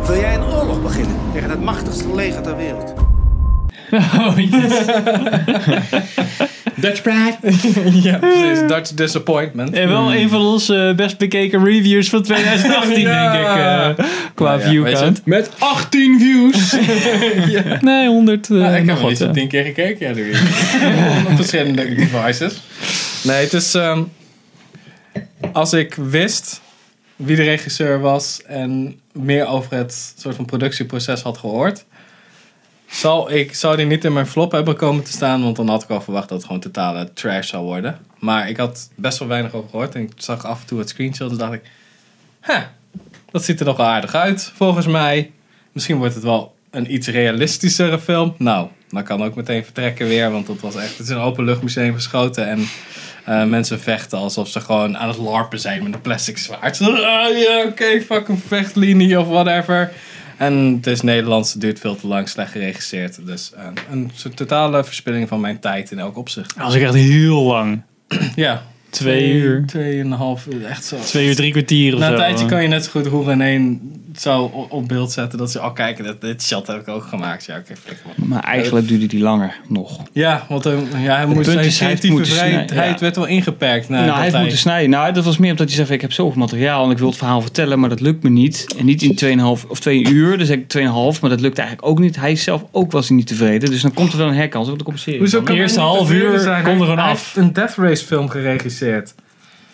K: Wil jij een oorlog beginnen tegen het machtigste leger ter wereld?
A: Oh, yes.
C: Dutch Pride!
D: Ja, precies. Dutch Disappointment.
A: En wel een van onze eh, best bekeken reviews van 2018,
D: Ja.
A: denk ik. eh, qua
D: Ja,
A: view
D: weet je
A: viewcount.
D: het?
C: Met 18 views!
A: Nee, 100. eh,
D: Ja, ik heb
A: nog
D: hem
A: wat.
D: niet zo
A: eh.
D: tien keer gekeken. Ja, doe je. Op verschillende devices. Nee, het is... ehm, als ik wist wie de regisseur was en meer over het soort van productieproces had gehoord, zou, ik, zou die niet in mijn flop hebben komen te staan, want dan had ik al verwacht dat het gewoon totale trash zou worden. Maar ik had best wel weinig over gehoord en ik zag af en toe het screenshot en dacht ik, hè, dat ziet er nog wel aardig uit, volgens mij. Misschien wordt het wel een iets realistischere film. Nou, dan kan ook meteen vertrekken weer, want dat was echt, het is een openluchtmuseum geschoten en eh, mensen vechten alsof ze gewoon aan het larpen zijn met een plastic zwaard. Ah, ja, oké, fucking vechtlinie of whatever. En het is Nederlands, het duurt veel te lang, slecht geregisseerd. Dus eh, een soort totale verspilling van mijn tijd in elk opzicht.
A: Dat was ook echt heel lang.
D: Ja.
A: Twee uur.
D: Tweeënhalf uur, echt zo.
A: Twee uur, drie kwartier of
D: Na
A: zo.
D: een tijdje kan je net zo goed hoe in één zo o- op beeld zetten dat ze al kijken, dat, dit shot heb ik ook gemaakt. Ja, oké, flikker maar.
B: Maar eigenlijk duurde die langer nog.
D: Ja, want eh, ja, hij moest
B: punt
D: zijn
B: is, hij heeft
D: creatieve
B: moeten snijden,
D: vrijheid
B: ja.
D: werd wel ingeperkt. Na
B: nou,
D: Eh, dat
B: hij heeft moeten snijden. Nou, dat was meer omdat hij zei: van, Ik heb zoveel materiaal en ik wil het verhaal vertellen, maar dat lukt me niet. En niet in 2,5 of 2 uur, dus ik 2,5, maar dat lukt eigenlijk ook niet. Hij zelf ook was hij niet tevreden, dus dan komt er wel een herkans, want dan komt een serie.
D: Hoezo
B: van.
D: kan
A: De eerste
D: hij niet
A: half
D: tevreden
A: uur
D: zijn?
A: kon er
D: Hij-
A: gewoon
D: hij
A: af.
D: heeft een Death Race film geregisseerd.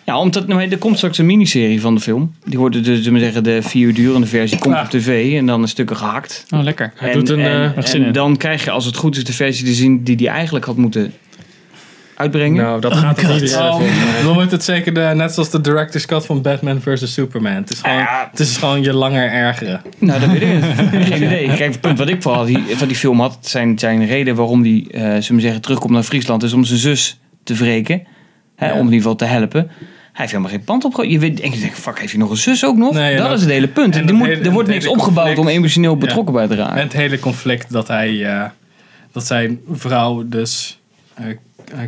B: Ja, omdat nou, er komt straks een miniserie van de film. Die wordt dus, zullen we zeggen, de 4 uur durende versie komt
D: Ja.
B: op tv en dan een stukken gehakt.
A: Oh, lekker.
B: en,
C: doet een,
B: en,
C: eh,
A: echt
B: en
A: zin in.
B: dan krijg je als het goed is de versie te zien die hij eigenlijk had moeten uitbrengen.
C: Nou, dat gaat het niet
D: Oh, dan wordt het zeker de, net zoals de director's cut van Batman vs. Superman. Het is, gewoon, het is gewoon je langer ergeren.
B: Nou, dat weet ik niet. Geen idee. Kijk, het punt wat ik vooral die, van die film had, zijn, zijn reden waarom hij, eh zullen we zeggen, terugkomt naar Friesland, is om zijn zus te wreken. Hè, Om in ieder geval te helpen. heeft helemaal geen pand opge... Je weet, en je denkt, fuck, heeft hij nog een zus ook nog?
D: Nee, en
B: dat
D: ook-
B: is het hele punt.
D: en
B: Er,
D: dat
B: moet,
D: hele-
B: er
D: en
B: wordt
D: het
B: niks
D: hele
B: opgebouwd om
D: conflict.
B: emotioneel
D: Ja.
B: betrokken bij te raken.
D: En het hele conflict dat hij, eh, dat zijn vrouw dus eh, eh,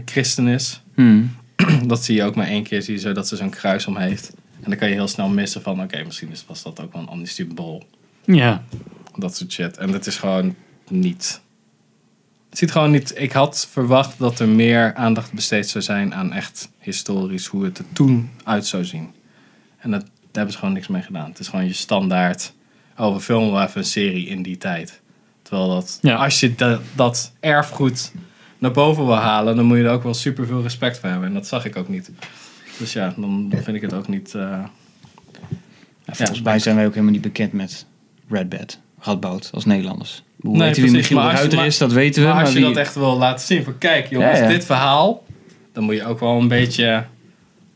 D: christen is.
B: Hmm.
D: dat zie je ook maar één keer, zie je zo dat ze zo'n kruis om heeft. En dan kan je heel snel missen van, oké, misschien is- was dat ook wel een ander symbool.
A: Ja.
D: Dat soort shit. En dat is gewoon niet. Het ziet gewoon niet. Ik had verwacht dat er meer aandacht besteed zou zijn aan echt historisch hoe het er toen uit zou zien. En dat, daar hebben ze gewoon niks mee gedaan. Het is gewoon je standaard. Oh, we filmen wel even een serie in die tijd. Terwijl dat, als je da- dat erfgoed naar boven wil halen, dan moet je er ook wel super veel respect voor hebben. En dat zag ik ook niet. Dus ja, dan, dan vind ik het ook niet. eh,
B: volgens mij zijn wij ook helemaal niet bekend met Red Bad, Radboud, als Nederlanders. Hoe
D: Nee,
B: weten wie
D: precies,
B: Michiel de
D: maar als je-
B: Ruiter is, dat weten we.
D: Maar, als je
B: wie-
D: dat echt wil laten zien, van kijk jongens,
B: Ja, ja.
D: dit verhaal, dan moet je ook wel een beetje eh,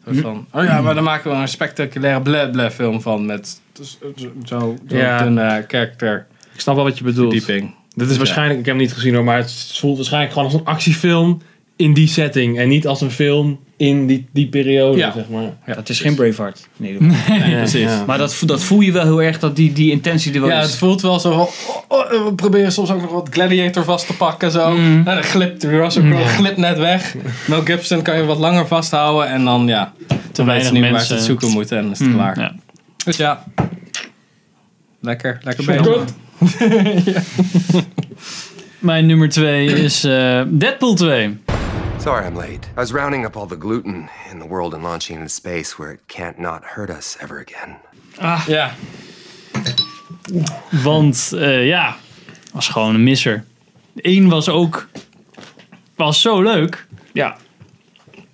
B: Hm?
D: soort van, oh ja, maar dan maken we een spectaculaire bleh bleh film van met dus, eh, zo- zo
C: Ja.
D: een karakter.
C: Ik snap wel wat je bedoelt.
D: Verdieping.
C: Dit is
D: Ja.
C: waarschijnlijk, ik heb hem niet gezien hoor, maar het voelt waarschijnlijk gewoon als een actiefilm in die setting. En niet als een film in die, die periode,
B: Ja.
C: zeg maar.
B: dat is geen Braveheart. Nee, precies. Maar dat, vo- dat voel je wel heel erg, dat die, die intentie er wel
D: Ja,
B: is.
D: het voelt wel zo van, oh, oh, we proberen soms ook nog wat Gladiator vast te pakken zo. Nou, dan glipt Russell Crowe
B: Mhm. Ja.
D: glipt net weg. Mel Gibson kan je wat langer vasthouden en dan ja, te
A: weinig
D: weinig niet waar ze
A: mensen.
D: het zoeken moeten en dan is het
B: Mhm.
A: Mm,
D: klaar.
A: ja.
D: Dus ja, lekker, lekker
A: Shotgun.
D: bezig.
A: Mijn nummer twee is eh, Deadpool 2.
L: Sorry I'm late. I was rounding up all the gluten in the world and launching into space where it can't not hurt us ever again.
A: Ah.
D: Ja.
A: Want eh, ja, was gewoon een misser. Eén was ook was zo leuk.
B: Ja.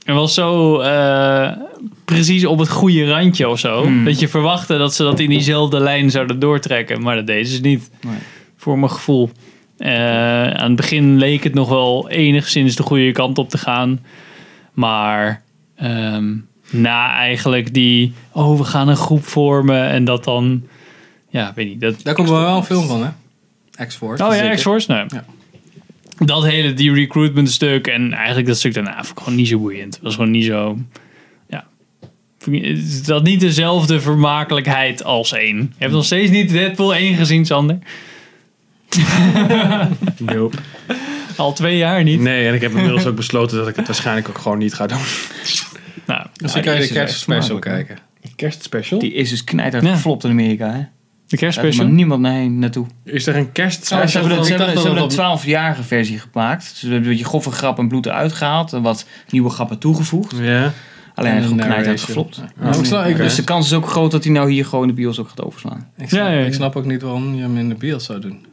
A: En was zo eh, precies op het goede randje of zo.
B: Hmm.
A: Dat je verwachtte dat ze dat in diezelfde lijn zouden doortrekken. Maar dat deden ze dus niet. Voor mijn gevoel. Eh, aan het begin leek het nog wel enigszins de goede kant op te gaan. Maar ehm, na eigenlijk die... Oh, we gaan een groep vormen. En dat dan... Ja, weet niet. Dat,
D: Daar komt wel een film van, hè? X-Force.
A: Oh ja,
D: Zeker.
A: X-Force, nee. Dat hele, die recruitment stuk en eigenlijk dat stuk daarna vond ik gewoon niet zo boeiend. Was gewoon niet zo, ja. Vond ik- Het had niet dezelfde vermakelijkheid als één. Je hebt nog steeds niet Deadpool 1 gezien, Sander.
C: Nope.
A: Al twee jaar niet.
C: Nee, en ik heb inmiddels ook besloten dat ik het waarschijnlijk ook gewoon niet ga doen.
A: Nou,
C: Dus
D: Misschien kan je de kerstspecial kijken.
C: Kerstspecial?
B: Die is dus knijter geflopt in Amerika, hè?
A: De
B: Daar heeft maar niemand naar heen naartoe.
C: Is er een
B: Ja,
C: kerstspecial?
B: ze hebben,
C: van?
B: dat, ze
C: Ik
B: hebben,
C: dacht
B: ze hebben
C: dat
B: een 12-jarige versie gemaakt. Ze hebben een beetje goffe grap en bloed eruit gehaald. En wat nieuwe grappen toegevoegd.
C: Ja.
B: Alleen
D: En
B: hij
D: een
B: gewoon knijt
D: narration.
B: uitgeflopt.
D: Ja. Oh, ik snap- ik-
B: Dus de kans is ook groot dat hij nou hier gewoon de bios ook gaat overslaan.
D: Ik snap, ik snap ook niet waarom je hem in de bios zou doen.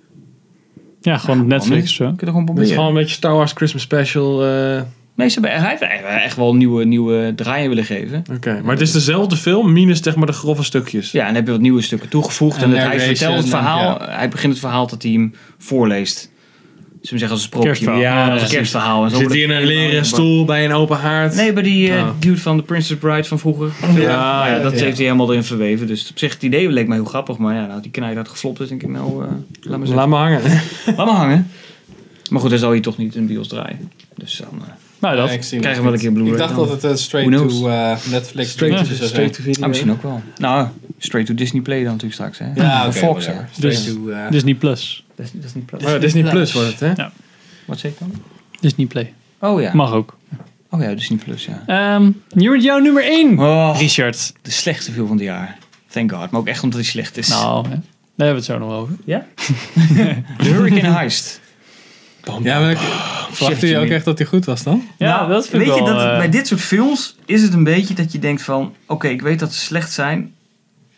A: Ja, gewoon Netflix. Kun
B: je er gewoon
C: Het is gewoon
B: proberen.
C: een beetje Star Wars Christmas Special. eh.
B: Nee, ze hebben hij heeft eigenlijk echt wel nieuwe, nieuwe draaien willen geven.
C: Oké, maar het is dezelfde film, minus zeg maar de grove stukjes.
B: Ja, en heb je wat nieuwe stukken toegevoegd. En,
C: En
B: het- hij
C: narration
B: vertelt het
C: en-
B: verhaal. Hij begint het verhaal dat hij hem voorleest. Ze zeggen als een sprookje.
C: Kerstverhaal.
B: Ja,
C: Ja,
B: als een
C: precies.
B: kerstverhaal. En zo
C: Zit
B: wordt
C: hier in
B: het-
C: een leren stoel bij een open haard.
B: Nee, bij die eh,
C: Oh.
B: dude van The Princess Bride van vroeger.
C: Ja,
B: Nou
C: ja,
B: dat
C: ja.
B: heeft hij helemaal erin verweven. Dus op zich, het idee leek mij heel grappig. Maar ja, nou, die knijt had geflopt. Dus denk ik, nou, eh, laat maar zitten.
C: Laat me hangen.
B: Laat maar hangen. Maar goed, dan zal je toch niet in de bios draaien. Dus dan eh,
A: Nou,
D: Ja, ik zie
B: krijgen we
D: hem
B: wel een
D: niet.
B: keer Blu-ray.
D: Ik dacht
B: dan.
D: dat het eh, straight
B: Who knows?
D: to eh, Netflix
B: Straight
D: dingetje
B: to-
D: zou
B: straight
D: zijn.
B: to video. Ah, misschien ook wel. Nou, straight to Disney Play dan natuurlijk straks. Hè?
D: Ja,
B: Of
D: oké,
B: Fox.
D: whatever.
B: hè.
D: Straight Dus- to, eh,
A: Disney Plus.
B: Disney Plus.
C: Oh ja, Disney Plus wordt het, hè?
A: Ja.
B: Wat zeg ik dan?
A: Disney Play.
B: Oh ja.
A: Mag ook.
B: Oh ja, Disney Plus, ja. Oh,
A: Ehm, hier wordt jouw nummer 1. Richard.
B: De slechtste film van het jaar. Thank God. Maar ook echt omdat hij slecht is.
A: Nou, hè. daar hebben we het zo nog over.
B: Ja? The Hurricane Heist.
D: Ja, maar ik, verwachtte je ook echt dat hij goed was dan?
A: Ja,
B: Nou,
A: dat vind ik
B: weet je,
A: wel,
B: dat,
A: eh,
B: bij dit soort films is het een beetje dat je denkt van... Oké, ik weet dat ze slecht zijn,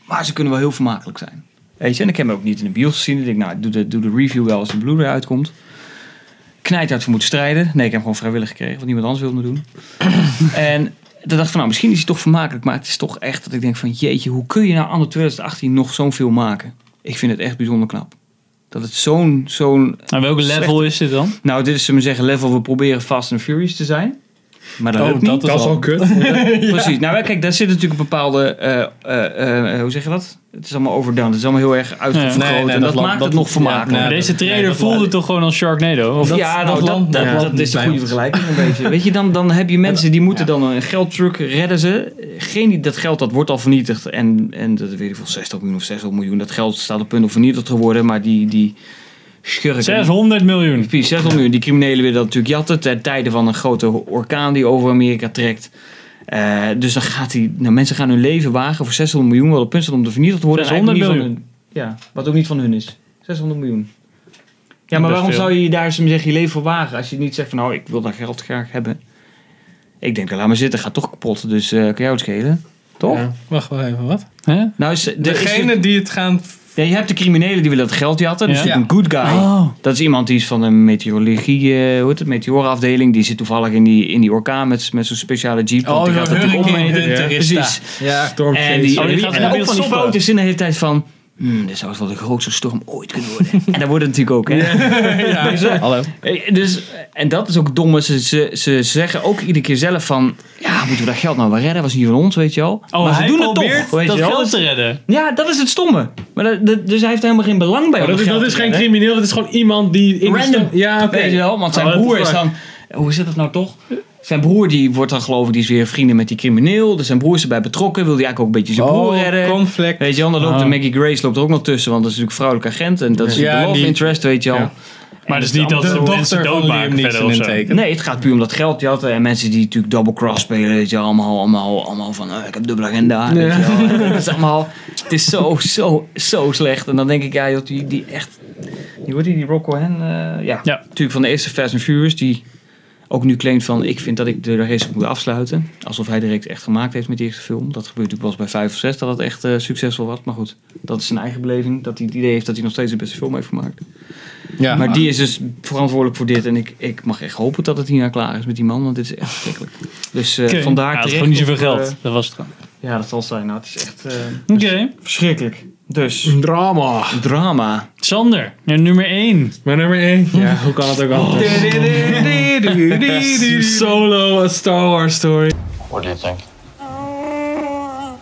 B: maar ze kunnen wel heel vermakelijk zijn. Weet je, en ik heb hem ook niet in de bios gezien. Ik denk, nou, ik doe de, doe de review wel als de Blu-ray uitkomt. Knijt uit voor moeten strijden. Nee, ik heb hem gewoon vrijwillig gekregen, want niemand anders wilde me doen. en dan dacht ik van, nou, misschien is hij toch vermakelijk. Maar het is toch echt dat ik denk van, jeetje, hoe kun je nou anno 2018 nog zo'n film maken? Ik vind het echt bijzonder knap. Dat het zo'n... zo'n
A: Aan welk level
B: slechte-
A: is dit dan?
B: nou, dit is ze me zeggen level. We proberen Fast and Furious te zijn. Maar dat
A: Oh,
B: lukt niet.
A: dat is Dat is al- al kut.
B: Precies. Nou, ja, kijk, daar zit natuurlijk een bepaalde... eh, eh, eh, hoe zeg je dat? Het is allemaal overdone. Het is allemaal heel erg uitvergroot.
A: Ja. Nee, nee,
B: en dat,
A: dat land-
B: maakt
A: dat-
B: het nog
A: ja,
B: vermakelijk.
A: nee, Deze dat- trailer nee, dat- voelde toch gewoon als Sharknado? Of
B: ja, nou, dat, dat, dat is de goede vergelijking een beetje. Weet je, dan, dan heb je mensen die moeten dan een geldtruck redden ze. degene die dat geld, dat wordt al vernietigd. En, en dat weet ik veel, 60 miljoen of 60 miljoen. Dat geld staat op punt om vernietigd te worden. Maar die, die schurken...
A: 600 miljoen.
B: Precies, 600 miljoen. Die criminelen willen dat natuurlijk jatten. Ten tijde van een grote orkaan die over Amerika trekt. Eh, dus dan gaat die, nou, mensen gaan hun leven wagen voor 600 miljoen. Wel op punt staat om te vernietigd te worden. En
A: 600
B: eigenlijk
A: miljoen.
B: niet van hun- ja, wat ook niet van hun is. 600 miljoen. Ja, maar
A: Best
B: waarom
A: veel.
B: zou je je daar zo zeggen je leven voor wagen? Als je niet zegt van nou, ik wil dat geld graag hebben. Ik denk, "Nou, laat maar zitten, gaat toch kapot. Dus eh kan jou het schelen. Toch?
D: Wacht wel even, wat?
A: Oh,
B: Nou, is, er
D: Degene
B: is,
D: die het gaan...
B: Ja, je hebt de criminelen die willen het geld jatten. Dus
D: Ja.
B: natuurlijk een good guy.
D: Oh.
B: Dat is iemand die is van een meteorologie, eh, hoe heet het, meteorafdeling. Die zit toevallig in die, in die orkaan met, met zo'n speciale jeep.
D: Oh,
B: want die
D: zo'n
B: gaat natuurlijk
D: hurricane
B: opmeten.
D: hunter is
B: Precies.
D: dat. Ja, storm
B: en
D: chase.
B: die,
D: Oh, die
B: en
D: gaat
B: en
D: gewoon
B: ook van die
D: stoppen.
B: foto's in de hele tijd van... Hmm, dit zou wel de grootste storm ooit kunnen worden. en dat wordt het natuurlijk ook, hè?
D: Ja.
B: Dus, eh, eh, Dus, eh, en dat is ook dom. Ze, ze, ze zeggen ook iedere keer zelf van... Ja, moeten we dat geld nou wel redden? Was niet van ons, weet je wel.
A: Oh,
B: maar ze
A: hij
B: doen het
A: probeert
B: toch, weet
A: dat
B: je wel.
A: geld te redden.
B: Ja, dat is het stomme. Maar dat, dat- dus hij heeft helemaal geen belang bij
C: Maar
B: om
C: dat is,
B: geld
C: dat
B: te
C: is geen
B: redden.
C: crimineel, dat is gewoon iemand die... in de
B: Random.
C: stad- Ja, oké.
B: Weet je wel, want zijn
C: Oh, what the
B: broer is
C: fuck.
B: dan... Hoe zit dat nou toch? Zijn broer die wordt dan geloof ik, die is weer vrienden met die crimineel. Dus zijn broer is erbij betrokken. Wil hij eigenlijk ook een beetje zijn
D: Oh,
B: broer redden.
D: conflict.
B: Weet je wel, dan loopt
D: Ah.
B: de Maggie Grace loopt er ook nog tussen. Want dat is natuurlijk vrouwelijke agent. En dat is
D: Ja,
B: de love
D: die-
B: interest, weet je wel.
D: Ja.
A: Maar het is niet dat
B: De
A: ze
B: dochter
A: mensen
B: van
A: doodmaken
B: Liam
A: verder
B: Neeson
A: of
B: in
A: zo.
B: teken. Nee, het gaat puur om dat geld jatten. En mensen die natuurlijk double cross spelen. Weet je, wel, allemaal, allemaal, allemaal van eh, ik heb dubbele agenda. Weet je, wel. En dat is allemaal, het is zo, zo, zo slecht. En dan denk ik, ja, joh, die, die echt. Die wordt die, die Rock Cohen. eh, ja, natuurlijk van de eerste Fast and Furious. Die ook nu claimt van ik vind dat ik de race moet afsluiten. Alsof hij de reeks echt gemaakt heeft met die eerste film. Dat gebeurt natuurlijk pas bij 5 of 6 dat het echt eh, succesvol was. Maar goed, dat is zijn eigen beleving. Dat hij het idee heeft dat hij nog steeds de beste film heeft gemaakt.
D: Ja,
B: maar
D: maar-
B: die is dus verantwoordelijk voor dit. En ik, ik mag echt hopen dat het hierna klaar is met die man. Want dit is echt verschrikkelijk. Dus eh,
A: Oké.
B: vandaar
A: Hij had
B: terecht
A: gewoon niet zoveel
B: op, eh,
A: geld. Dat was het gewoon.
B: ja, dat zal zijn. Nou, het is echt... eh,
A: Oké.
B: Verschrikkelijk. Dus.
A: Drama.
B: Drama.
A: Sander, ja, nummer 1.
C: Maar nummer 1. Ja, hoe kan het ook anders? Solo, A Star Wars Story.
M: What do you think?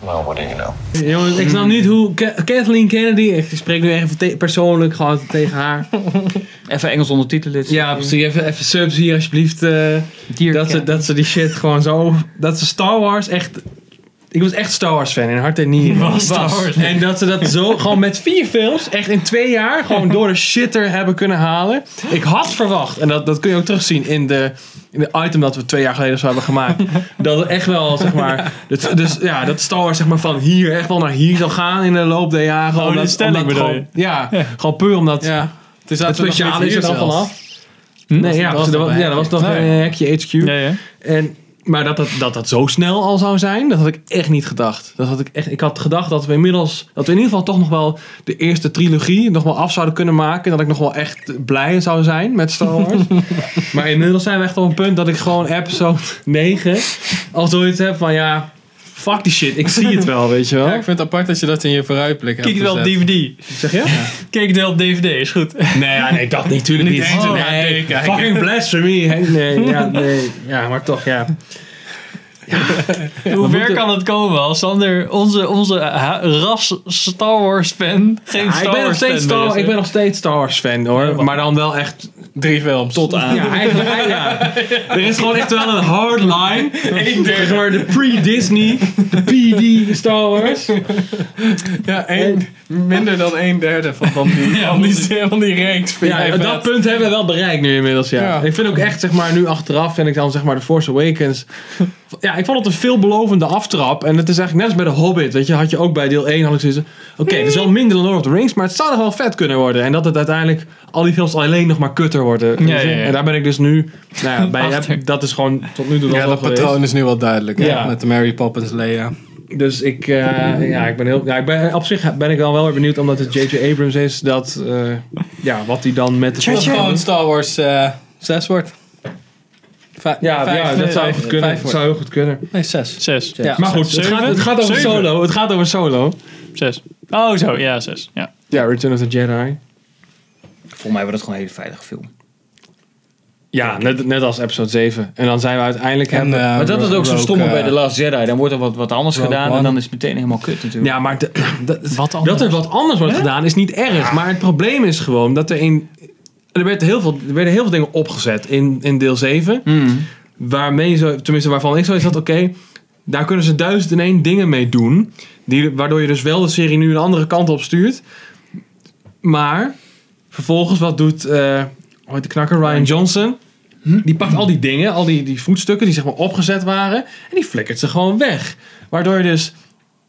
M: Well, what do you know?
C: Jongens, ik snap niet hoe Ka- Kathleen Kennedy, ik spreek nu even te- persoonlijk gewoon tegen haar.
B: Even Engels ondertitelen.
C: Ja, precies. Even, even subs hier alsjeblieft. eh, dat, ze, dat ze die shit gewoon zo... Dat ze Star Wars echt... Ik was echt Star Wars fan in hart en nieren.
D: Was Star Wars.
C: En dat ze dat zo gewoon met vier films echt in twee jaar gewoon door de shitter hebben kunnen halen. Ik had verwacht, en dat, dat kun je ook terugzien in de, in de item dat we twee jaar geleden zo hebben gemaakt. Dat het echt wel, zeg maar... dat- dus ja, dat Star Wars zeg maar van hier echt wel naar hier zal gaan in de loop der jaren.
A: Oh,
C: Omdat-
A: de stelling
C: omdat
A: bedoel
C: gewoon-
A: je?
C: Ja, gewoon puur omdat het,
D: zaten we nog
C: speciaal
D: niet
C: is er
D: hier
C: dan
D: zelfs.
C: vanaf. Nee, ja,
D: was
C: was
D: nog
C: er,
D: bij
C: ja, dat was nog
D: Hekje.
C: een
D: Nee.
C: hekje HQ. En, maar dat dat, dat dat zo snel al zou zijn, dat had ik echt niet gedacht. Dat had ik, echt, ik had gedacht dat we inmiddels, dat we in ieder geval toch nog wel de eerste trilogie nog wel af zouden kunnen maken. En dat ik nog wel echt blij zou zijn met Star Wars. maar inmiddels zijn we echt op een punt dat ik gewoon episode 9 al zoiets heb van ja, fuck die shit, ik zie het wel, weet je wel.
D: Ja, ik vind het apart dat je dat in je vooruitblik hebt
A: Kijk wel op
D: gezet.
A: DVD.
C: Zeg je?
A: Kijk wel op DVD, is goed.
C: Nee, ja, nee dat natuurlijk
A: Niet
C: niet.
A: eens Oh, in de
C: nee,
A: HD kijken.
C: fucking blasphemy. hè? Nee, ja, nee, ja, maar toch, ja.
A: Hoe ver kan het komen als Sander, onze, onze eh, ha- ras Star Wars fan, geen
C: Ja,
A: Star
C: ik ben
A: Wars
C: nog
A: fan
C: steeds Star,
A: meer is, hè?
C: Ik ben nog steeds Star Wars fan hoor. maar dan wel echt
D: drie films.
C: Tot aan. Ja, eigenlijk, ja. Er is gewoon echt wel een hard line.
D: Eén derde.
C: Zeg maar de pre-Disney, de PD Star Wars.
D: Ja, één, minder dan een derde van, van, die, van, die, van die reeks. Vind
C: Ja,
D: jij
C: dat
D: vet.
C: punt hebben we wel bereikt nu inmiddels, ja.
D: Ja.
C: Ik vind ook echt, zeg maar, nu achteraf vind ik dan, zeg maar, The Force Awakens... Ja, ik vond het een veelbelovende aftrap. En het is eigenlijk net als bij The Hobbit, weet je. Had je ook bij deel 1, had ik zoiets Oké, het is wel minder dan Lord of the Rings, maar het zou nog wel vet kunnen worden. En dat het uiteindelijk al die films alleen nog maar kutter worden.
D: Ja, ja, ja.
C: En daar ben ik dus nu... Nou ja, bij,
D: Achter.
C: dat is gewoon tot nu toe wel
D: Ja,
C: zo
D: dat
C: geweest.
D: patroon is nu wel duidelijk. hè,
C: Ja.
D: Met de Mary Poppins Leia.
C: Dus ik, eh, ja, ik ben heel, ja, ik ben, op zich ben ik dan wel weer benieuwd, omdat het J.J. Abrams is, dat, eh, ja, wat hij dan met de
D: Dat gewoon Star Wars eh 6 wordt. Vijf-
C: Ja,
D: vijf-
C: ja dat zou
D: vijf-
C: goed kunnen.
D: vijf wordt.
C: zou heel goed kunnen.
D: Nee, zes.
A: Zes.
C: Ja, maar goed, het
A: Zeven?
C: gaat, het gaat over
A: Zeven.
C: solo. Het gaat over solo.
A: Zes. Oh, zo, ja, zes. Ja.
C: Ja, Return of the Jedi.
B: Volgens mij wordt het gewoon een hele veilige film.
C: Ja, net, net als episode 7. En dan zijn we eh, uiteindelijk... hebben-
B: eh, maar dat is ook zo stomme bij The
C: laatste.
B: Last Jedi. Dan wordt er wat, wat anders
C: Rogue
B: gedaan
C: One.
B: en dan is het meteen helemaal kut natuurlijk.
C: Ja, maar de- dat, dat er wat anders wordt gedaan is niet erg. Maar het probleem is gewoon dat er in... Er, werd heel veel, er werden heel veel Hmm. dingen opgezet in, in deel 7. Waarmee zo, tenminste waarvan ik zoiets had, oké... Daar kunnen ze duizend en één dingen mee doen. Die, waardoor je dus wel de serie nu een andere kant op stuurt. Maar vervolgens, wat doet eh hoe heet de knakker? Ryan Johnson.
D: Hm?
C: Die pakt al die dingen, al die, die voetstukken die zeg maar opgezet waren. En die flikkert ze gewoon weg. Waardoor je dus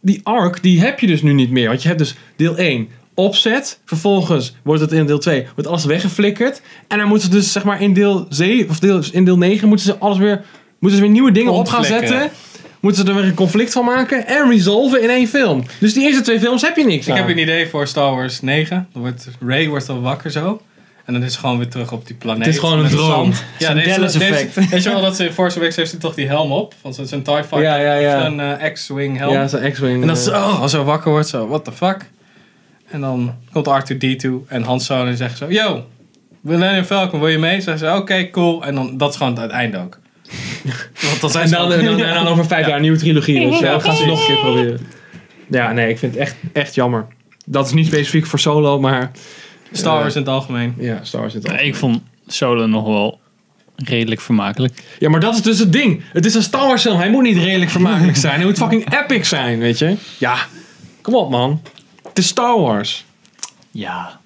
C: die arc, die heb je dus nu niet meer. Want je hebt dus deel 1 opzet. Vervolgens wordt het in deel 2 wordt alles weggeflikkerd. En dan moeten ze dus zeg maar in deel 7 of deel, in deel 9 moeten ze alles weer moeten ze weer nieuwe dingen op gaan
D: Ontflikkeren.
C: zetten. Moeten ze er weer een conflict van maken en resolven in één film. Dus die eerste twee films heb je niks.
D: Ik
C: aan.
D: heb een idee voor Star Wars 9. Dan wordt, Ray wordt al wakker zo. En dan is het gewoon weer terug op die planeet.
C: Het is gewoon een
D: Met
C: droom.
D: zand.
C: Het is
D: Ja,
C: een
D: deze,
C: Dallas
D: deze,
C: effect.
D: Weet je wel dat ze in Force Awakens heeft ze toch die helm op? Van zo'n zo'n TIE fighter.
C: Ja, ja, ja.
D: Of een eh, X-Wing helm.
C: Ja, zo'n X-Wing,
D: En dat ze,
C: eh.
D: oh, als ze wakker wordt, zo, what the fuck? En dan komt R2-D2 en Han Solo en zegt zo, yo, Millennium Falcon, wil je mee? Zeggen ze, oké, cool. En dan, dat is gewoon het einde ook. Want dan zijn
C: en,
D: ze
C: dan,
D: ook-
C: en, dan, en dan over vijf jaar een nieuwe trilogie. Dus ja,
D: Ja,
C: we gaan ze nog een keer
D: precies.
C: proberen. Ja, nee, ik vind het echt, echt jammer. Dat is niet specifiek voor Solo, maar...
D: Star
C: eh,
D: Wars in het algemeen.
C: Ja, Star Wars in het
A: Ik vond Solo nog wel redelijk vermakelijk.
C: Ja, maar dat is dus het ding. Het is een Star Wars film. Hij moet niet redelijk vermakelijk zijn. Hij moet fucking epic zijn, weet je. Ja, kom op man. Het is Star Wars.
A: Ja.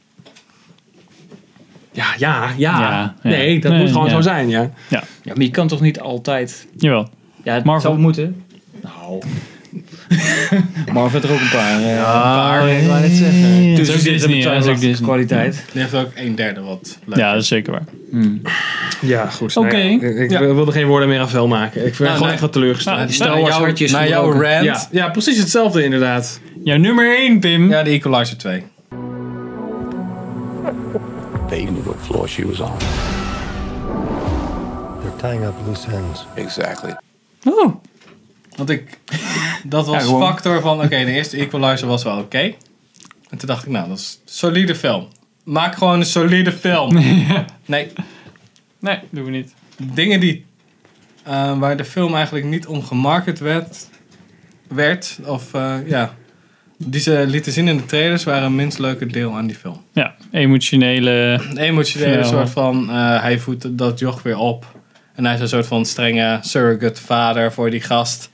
C: Ja, ja, ja.
A: Ja, ja.
C: Nee, dat
A: Nee,
C: moet gewoon
A: ja. Oh,
C: zo zijn, ja.
A: Ja.
B: ja, maar je kan toch niet altijd...
A: Jawel.
B: Ja, het
A: Marvel.
B: zou moeten. Nou. Marvel heeft er ook een paar. eh, een paar, ik wou net zeggen.
A: Ja,
B: Dus
A: dat is ook
B: dit
A: Disney,
B: een
A: hè, dat is ook Disney.
B: kwaliteit.
D: Die heeft ook een derde wat leuk.
A: Ja, dat is zeker waar.
C: Ja, goed.
A: Oké.
C: Nou ja, ik ik
A: Ja.
C: wilde geen woorden meer aan vuil maken. Ik ben
A: Nou,
C: gewoon
A: nee.
C: echt wat teleurgesteld.
A: Nou, die Star Wars hartjes
C: naar jouw
A: gebroken.
C: rant. Ja,
A: Ja.
C: ja, precies hetzelfde inderdaad.
A: Jouw nummer 1, Pim.
D: Ja, de Equalizer 2.
M: They knew what floor she was on.
N: They're tying up loose ends.
M: Exactly.
A: Oh.
D: Want ik, dat was
M: Ja, gewoon.
D: factor van, oké, de eerste Equalizer was wel oké. En toen dacht ik, nou, dat is een solide film. Maak gewoon een solide film. Nee.
A: Nee, doen we niet.
D: Dingen die, eh, waar de film eigenlijk niet om gemarket werd, werd of eh, ja, die ze lieten zien in de trailers, waren een minst leuke deel aan die film.
A: Ja, emotionele...
D: Een emotionele
A: Ja.
D: soort van, eh, hij voedt dat joch weer op. En hij is een soort van strenge surrogate vader voor die gast.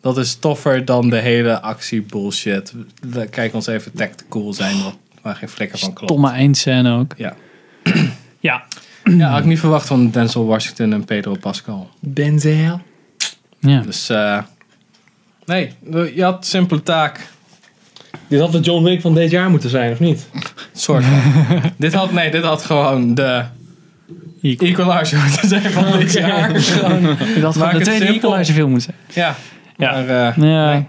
D: Dat is toffer dan de hele actie bullshit. Le- Kijk ons even tactical zijn, wat- waar geen flikker van klopt.
A: Tomme eindscène ook.
D: Ja.
A: Ja.
D: ja, had ik niet verwacht van Denzel Washington en Pedro Pascal.
C: Denzel.
A: Ja.
D: Dus eh, nee, je had simpele taak.
C: Dit had de John Wick van dit jaar moeten zijn, of niet?
D: Soort dit had, nee, dit had gewoon de equalizer moeten zijn van dit
A: Oké.
D: jaar.
A: Je had gewoon
D: Maak
A: de tweede
D: het simpel.
A: Equalizer film moeten zijn.
D: Ja.
A: Ja.
D: Maar, eh,
A: ja.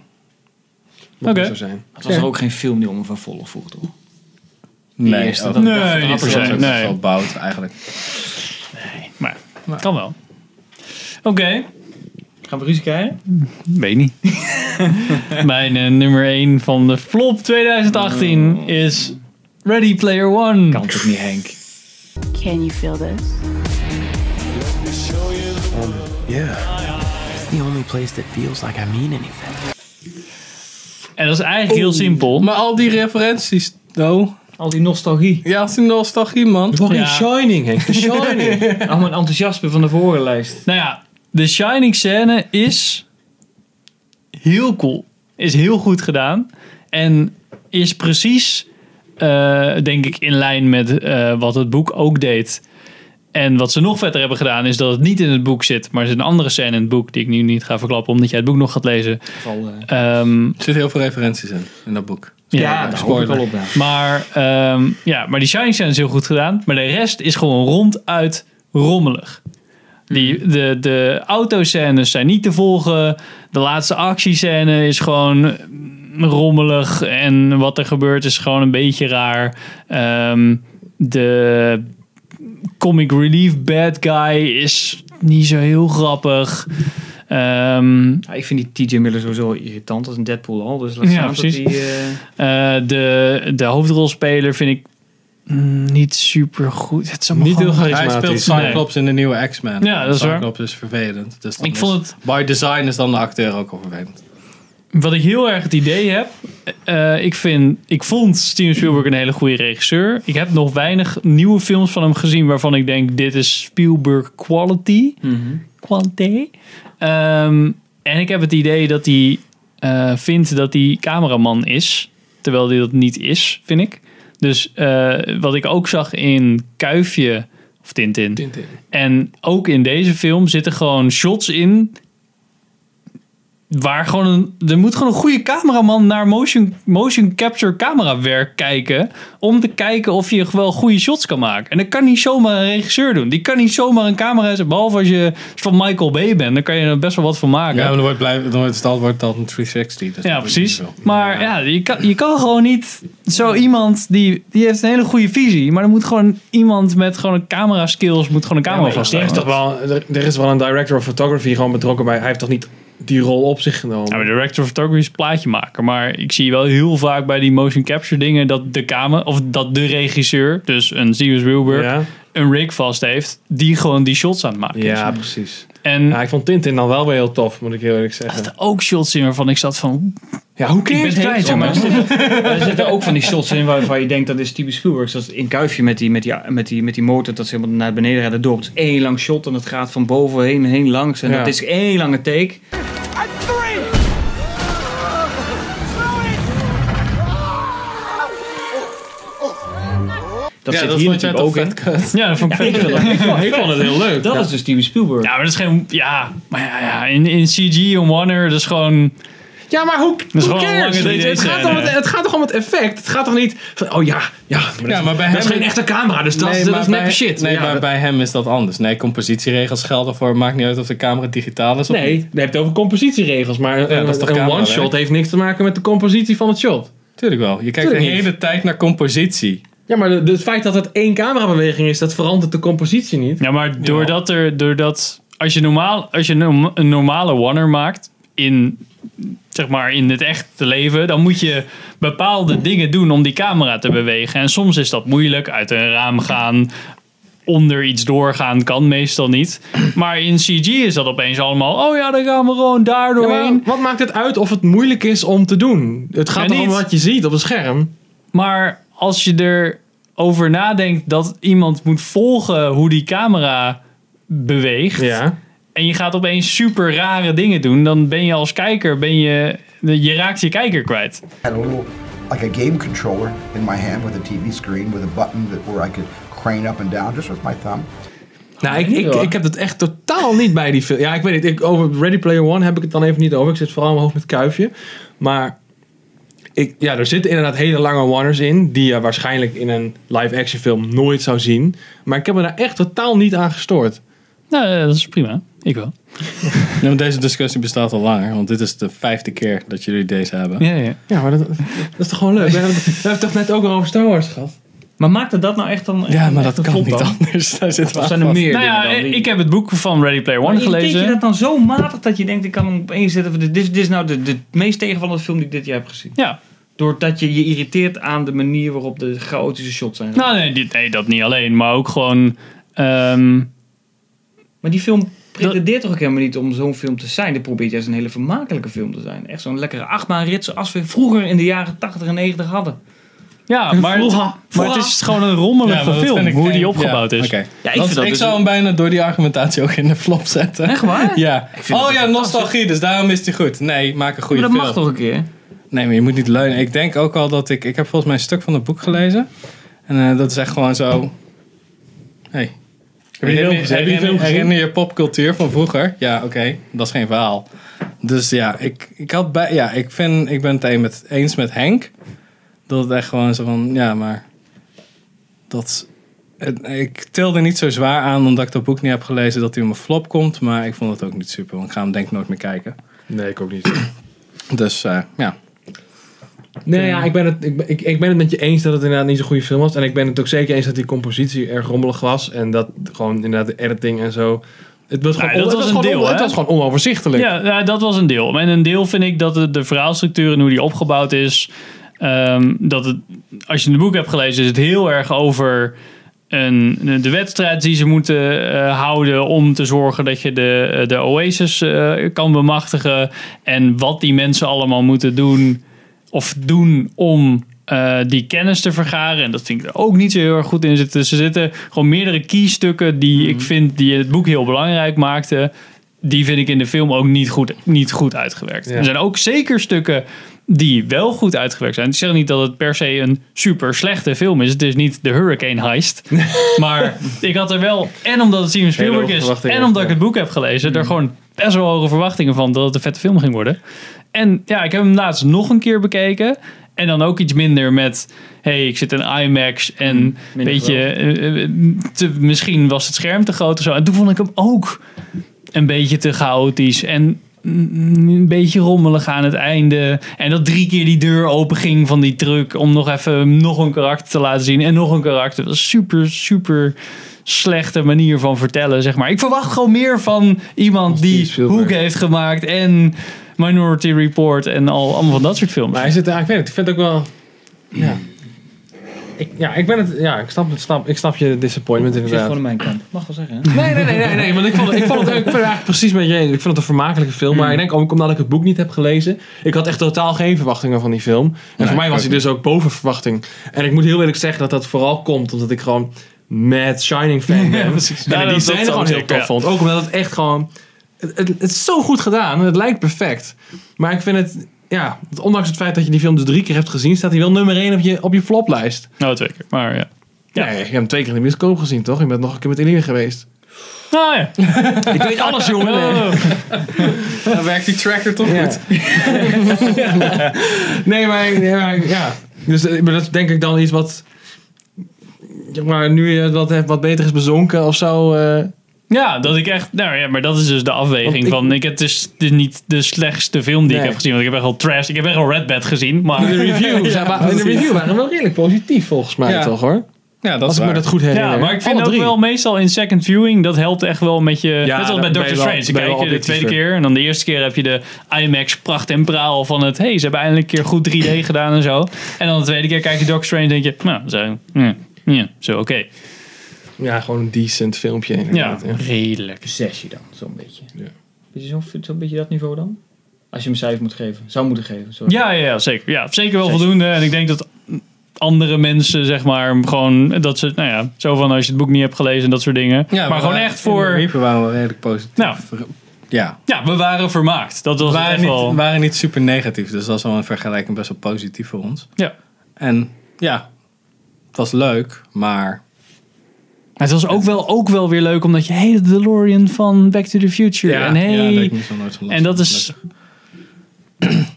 D: Moet
A: Oké.
D: niet zo zijn.
B: Het was er ook geen film die om van vervolg vroeg, toch?
D: Nee,
B: Die eerste,
D: dat-
B: dat-
D: dat-
B: dat-
D: dat-
B: dat-
D: dat- dat-
B: dat- dat-
D: dat-
B: dat-
D: dat- dat- Bout eigenlijk.
A: Maar, kan wel. Oké.
B: Gaan we ruzie krijgen?
A: Weet niet. Mijn eh, nummer 1 van de flop 2018 is Ready Player One. Mm. Kan
B: toch niet, Henk?
O: Can you feel this?
P: Yeah. It's the only place that feels like I mean anything.
A: En dat is eigenlijk heel simpel.
D: Maar al die referenties, no.
B: Al die nostalgie.
D: Ja, al die nostalgie, man.
C: Fucking Shining, Henk. The Shining.
B: Allemaal een enthousiasme van de vorige lijst.
A: Nou ja, de Shining scène is heel cool. Is heel goed gedaan. En is precies, eh, denk ik, in lijn met eh, wat het boek ook deed. En wat ze nog verder hebben gedaan is dat het niet in het boek zit. Maar er is een andere scène in het boek die ik nu niet ga verklappen. Omdat jij het boek nog gaat lezen.
B: eh,
A: Ehm,
D: Er zitten heel veel referenties in, in dat boek.
A: Maar, ehm, ja, maar die Shining scène is heel goed gedaan. Maar de rest is gewoon ronduit rommelig. Die, de, de autoscènes zijn niet te volgen. De laatste actiescène is gewoon mm, rommelig. En wat er gebeurt is gewoon een beetje raar. Ehm, de comic relief bad guy is niet zo heel grappig. Ehm,
B: Nou, ik vind die TJ Miller sowieso irritant als een Deadpool al. Dus laat
A: Ja,
B: staan dat
A: precies.
B: die... eh,
A: Eh, de, de hoofdrolspeler vind ik mm, niet super goed. Het is allemaal
D: Niet heel
A: gewoon-
D: charismatisch. Hij speelt Cyclops in de nieuwe X-Men.
A: Ja, dat is waar.
D: Cyclops is vervelend. Dus dan
A: Ik
D: is-
A: vond het-
D: By design is dan de acteur ook al vervelend.
A: Wat ik heel erg het idee heb. eh, ik, vind, ik vond Steven Spielberg een hele goede regisseur. Ik heb nog weinig nieuwe films van hem gezien waarvan ik denk: dit is Spielberg quality. Quality. Ehm, En ik heb het idee dat hij eh, vindt dat hij cameraman is. Terwijl hij dat niet is, vind ik. Dus eh, wat ik ook zag in Kuifje, of Tintin.
C: Tintin.
A: En ook in deze film zitten gewoon shots in. Waar gewoon een, er moet gewoon een goede cameraman naar motion, motion capture camera werk kijken. Om te kijken of je wel goede shots kan maken. En dat kan niet zomaar een regisseur doen. Die kan niet zomaar een camera zetten. Behalve als je van Michael Bay bent. Dan kan je er best wel wat van maken.
D: Ja, maar dan wordt, blij, dan wordt het al wordt het al een 360. Dus
A: Ja,
D: dat doe ik
A: precies.
D: niet zo.
A: Maar ja, je, kan, je kan gewoon niet zo iemand die, die heeft een hele goede visie, maar er moet gewoon iemand met gewoon een camera skills moet gewoon een camera
C: er, is
A: vasthouden.
C: toch wel, er, er is wel een director of photography gewoon betrokken bij. Hij heeft toch niet die rol op zich genomen?
A: Ja, Nou, maar director of photography is een plaatje maken, maar ik zie wel heel vaak bij die motion capture dingen dat de camera of dat de regisseur, dus een Steven Spielberg, een rig vast heeft die gewoon die shots aan het maken is.
C: Ja, precies.
A: En
C: ik vond Tintin dan wel weer heel tof, moet ik heel eerlijk zeggen.
A: Ook shots in waarvan ik zat van,
C: ja, hoe kun
A: je het kwijt, jongen?
B: Er zitten ook van die shots in waarvan je denkt dat is typisch Spielberg. Zoals in Kuifje met die, met, die, met, die, met die motor dat ze helemaal naar beneden rijden. Door is één lang shot en dat gaat van boven heen, heen langs. En
A: Ja.
B: dat is één lange take. Dat
A: Ja,
B: zit
A: dat
B: hier
A: vond jij
B: natuurlijk ook in.
A: toch vet kut? Ja, dat vond ik vet kut.
B: ik vond het heel leuk. Dat
A: Ja.
B: is dus typisch Spielberg.
A: ja, maar dat is geen, ja, maar ja, ja in, in CG en Warner, dat is gewoon
C: Ja, maar hoe,
A: is
C: hoe
A: gewoon een
C: cares?
A: lange
C: weet je? Het gaat, om
A: DD-scène.
C: het, het gaat toch om het effect? Het gaat toch niet van, oh ja, ja, maar dat,
D: Ja, maar bij
C: dat
D: hem
C: is geen echte camera, dus dat,
D: Nee,
C: is dat
D: maar
C: is neppe
D: bij-
C: shit.
D: Nee,
C: Ja,
D: maar
C: dat-
D: bij hem is dat anders. Nee, compositieregels gelden voor. Maakt niet uit of de camera digitaal is of
C: Nee,
D: niet.
C: je hebt het over compositieregels, maar
D: Ja,
C: een,
D: dat is toch
C: een
D: camerawerk?
C: one-shot heeft niks te maken met de compositie van het shot.
D: Tuurlijk wel. Je kijkt
C: Tuurlijk
D: de
C: niet.
D: hele tijd naar compositie.
C: Ja, maar de- de- het feit dat het één camerabeweging is, dat verandert de compositie niet.
A: Ja, maar doordat er, doordat als je normaal, als je norm- een normale Warner maakt in, zeg maar, in het echte leven, dan moet je bepaalde dingen doen om die camera te bewegen. En soms is dat moeilijk, uit een raam gaan, onder iets doorgaan, kan meestal niet. Maar in CG is dat opeens allemaal, oh ja, dan gaan we gewoon daar doorheen.
C: wat maakt het uit of het moeilijk is om te doen? Het gaat
A: Ja,
C: erom
A: niet.
C: wat je ziet op een scherm.
A: Maar als je erover nadenkt dat iemand moet volgen hoe die camera beweegt. En je gaat opeens super rare dingen doen. Dan ben je als kijker, ben je, je raakt je kijker kwijt.
N: had a little like a game controller in my hand with a TV screen with a button that where I could crane up and down just with my thumb.
C: Nou, ik, ik, ik heb dat echt totaal niet bij die film. Ja, ik weet niet. Ik, over Ready Player One heb ik het dan even niet over. Ik zit vooral in mijn hoofd met kuifje. Maar ik, ja, er zitten inderdaad hele lange warners in. Die je waarschijnlijk in een live-action film nooit zou zien. Maar ik heb me daar echt totaal niet aan gestoord.
A: Nou, dat is prima. Ik wel.
D: Ja, maar deze discussie bestaat al langer, want dit is de vijfde keer dat jullie deze hebben.
A: Ja, ja.
C: ja maar dat, dat is toch gewoon leuk? We hebben, we hebben het toch net ook al over Star Wars gehad?
B: Maar maakte dat nou echt dan...
D: Ja, maar
B: echt
D: dat
B: een
D: kan
B: flop
D: niet
B: dan?
D: anders. Daar zit
B: Of zijn er meer
A: nou ja,
B: dingen dan die-
A: ik heb het boek van Ready Player One
B: Irriteert
A: gelezen.
B: je dat dan zo matig dat je denkt, ik kan hem op één zetten. Dit, is- dit is nou de, de meest tegenvallende film die ik dit jaar heb gezien.
A: Ja.
B: Doordat je je irriteert aan de manier waarop de chaotische shots zijn.
A: Nou, nee, dit, nee, dat niet alleen. Maar ook gewoon... ehm,
B: Maar die film pretendeert toch ook helemaal niet om zo'n film te zijn. Dit probeert juist een hele vermakelijke film te zijn. Echt zo'n lekkere achtbaanrit als we vroeger in de jaren 80 en 90 hadden.
A: ja, maar, maar het is gewoon een rommelige film. Hoe die opgebouwd is.
D: Ja, ik,
A: dus
D: ik zou hem bijna door die argumentatie ook in de flop zetten.
A: Echt waar?
D: Ja.
A: Ik vind
D: Oh
A: dat
D: ja, nostalgie, dus daarom is die goed. Nee, maak een goede
B: Maar
D: film.
B: dat mag toch een keer?
D: Nee, maar je moet niet leunen. Ik denk ook al dat ik... Ik heb volgens mij een stuk van het boek gelezen. En eh, dat is echt gewoon zo... Hey.
C: Heb je die film
D: Herinner,
C: gezien? Heb je die film
D: herinner,
C: gezien?
D: herinner je popcultuur van vroeger? Ja, oké. Dat is geen verhaal. Dus ja, ik, ik, had bij, ja, ik, vind, ik ben het een met, eens met Henk. Dat het echt gewoon zo van... Ja, maar... Dat... het- Ik tilde niet zo zwaar aan omdat ik dat boek niet heb gelezen dat hij om een flop komt. Maar ik vond het ook niet super. Want ik ga hem denk ik nooit meer kijken.
C: Nee, ik ook niet.
D: Dus eh, ja.
C: Nee, ja, ik ben, het, ik, ben- ik, ik ben het met je eens dat het inderdaad niet zo'n goede film was. En ik ben het ook zeker eens dat die compositie erg rommelig was. En dat gewoon inderdaad de editing en zo. Het was gewoon,
A: Nou, dat
C: het
A: was een
C: gewoon
A: deel,
C: on- Het
A: hè?
C: was gewoon onoverzichtelijk.
A: Ja, ja, dat was een deel. En een deel vind ik dat de, de verhaalstructuur en hoe die opgebouwd is. ehm, dat het, als je het boek hebt gelezen, is het heel erg over een, de wedstrijd die ze moeten eh, houden. om te zorgen dat je de, de Oasis eh, kan bemachtigen. En wat die mensen allemaal moeten doen. of doen om. eh, die kennis te vergaren. En dat vind ik er ook niet zo heel erg goed in zitten. Ze zitten gewoon meerdere keystukken die ik vind die het boek heel belangrijk maakten die vind ik in de film ook niet goed, niet goed uitgewerkt.
B: Ja.
A: Er zijn ook zeker stukken die wel goed uitgewerkt zijn. Ik zeg niet dat het per se een super slechte film is. Het is niet de Hurricane Heist. maar ik had er wel, en omdat het Steven Spielberg
C: hoge
A: is,
C: verwachtingen,
A: en omdat ik
C: ja. Mm.
A: het boek heb gelezen, er gewoon best wel hoge verwachtingen van dat het een vette film ging worden. En ja, ik heb hem laatst nog een keer bekeken. En dan ook iets minder met, hey, ik zit in IMAX
C: Mm,
A: en
B: minder
A: weet je, eh, eh, te- misschien was het scherm te groot of zo. En toen vond ik hem ook een beetje te chaotisch en mm, een beetje rommelig aan het einde. En dat drie keer die deur open ging van die truck om nog even nog een karakter te laten zien en nog een karakter. Dat is super, super slechte manier van vertellen, zeg maar. Ik verwacht gewoon meer van iemand die Hoek heeft gemaakt en Minority Report en al allemaal van dat soort films. Maar
C: hij zit, ik weet het, ik vind het ook wel... Ja.
A: Hmm.
C: Ik, ja, ik ben het... Ja, ik snap, het- snap, ik snap je disappointment
B: Ik zit
C: inderdaad.
B: gewoon in mijn kamp. Mag wel zeggen.
C: Nee, nee, nee, nee, nee, want ik vond, ik vond het ik vond het eigenlijk precies met je eens. Ik vond het een vermakelijke film, maar ik denk ook omdat ik het boek niet heb gelezen. Ik had echt totaal geen verwachtingen van die film. En voor mij was
D: ook
C: hij dus ook boven verwachting. En ik moet heel eerlijk zeggen dat dat vooral komt omdat ik gewoon mad Shining fan ben.
A: Ja,
C: en
A: dat-
C: die
A: dat
C: zijn
A: zal
C: gewoon heel
A: zeker,
C: tof
A: ja.
C: vond. Ook omdat het echt gewoon... Het, het, het is zo goed gedaan en het lijkt perfect. Maar ik vind het... Ja, ondanks het feit dat je die film dus drie keer hebt gezien, staat hij wel nummer één op je, op je floplijst.
A: Nou, twee keer, maar ja.
C: Ja, je hebt hem twee keer in de bioscoop gezien, toch? Je bent nog een keer met Eline geweest. Oh.
A: Nou ja. Oh.
C: Ik weet alles, jongen.
D: Dan werkt die tracker toch goed.
C: Nee, maar, nee, maar ja. Dus eh, maar dat is denk ik dan iets wat. ja, Maar nu je dat hebt wat beter is bezonken of zo. eh,
A: Ja, dat ik echt. Nou ja, maar dat is dus de afweging
C: Want ik-
A: van. Ik, het, is, het is niet de slechtste film die
C: Nee.
A: ik heb gezien. Want ik heb echt wel trash. Ik heb echt wel Red Bad gezien. Maar
C: in de review,
A: Ja,
C: zijn wa- in de
A: precies.
C: review waren we wel redelijk positief volgens mij
A: Ja.
C: toch hoor?
D: Ja,
C: Als ik me dat goed herinner.
A: Ja, maar ik vind
C: Alle
A: ook
C: drie.
A: wel meestal in second viewing. Dat helpt echt wel met je. net als
C: dan
A: bij
C: ben je
A: Doctor
C: wel-
A: Strange. Dan
C: ben je
A: kijk
C: wel
A: je de tweede
C: objectiever.
A: keer. En dan de eerste keer heb je de IMAX pracht en praal van het. hey, ze hebben eindelijk een keer goed 3D gedaan en zo. En dan de tweede keer kijk je Doctor Strange. en denk je. Nou, zo. Ja, ja, zo oké.
C: Ja, gewoon een decent filmpje. inderdaad,
A: Ja, redelijk.
B: Zesje dan, zo'n beetje. Beetje zo'n zo'n beetje dat niveau dan? Als je hem een cijfer moet geven. Zou moeten geven, sorry.
A: Ja, ja, ja, zeker. Ja, zeker wel voldoende. En ik denk dat andere mensen, zeg maar, gewoon dat ze, nou ja, zo van als je het boek niet hebt gelezen en dat soort dingen. maar, gewoon echt
D: In de
A: voor.
D: review waren we redelijk positief.
A: Nou,
D: Ja.
A: ja, we waren vermaakt. Dat was het
D: We waren
A: echt
D: niet,
A: wel.
D: waren niet super negatief, dus dat is wel een vergelijking best wel positief voor ons.
A: Ja.
D: En ja, het was leuk, maar
A: Het was ook wel, ook wel weer leuk omdat je, hey, de DeLorean van Back to the Future. en hey,
D: ja, daar heb ik niet zo nooit van last
A: en dat
D: van.
A: is.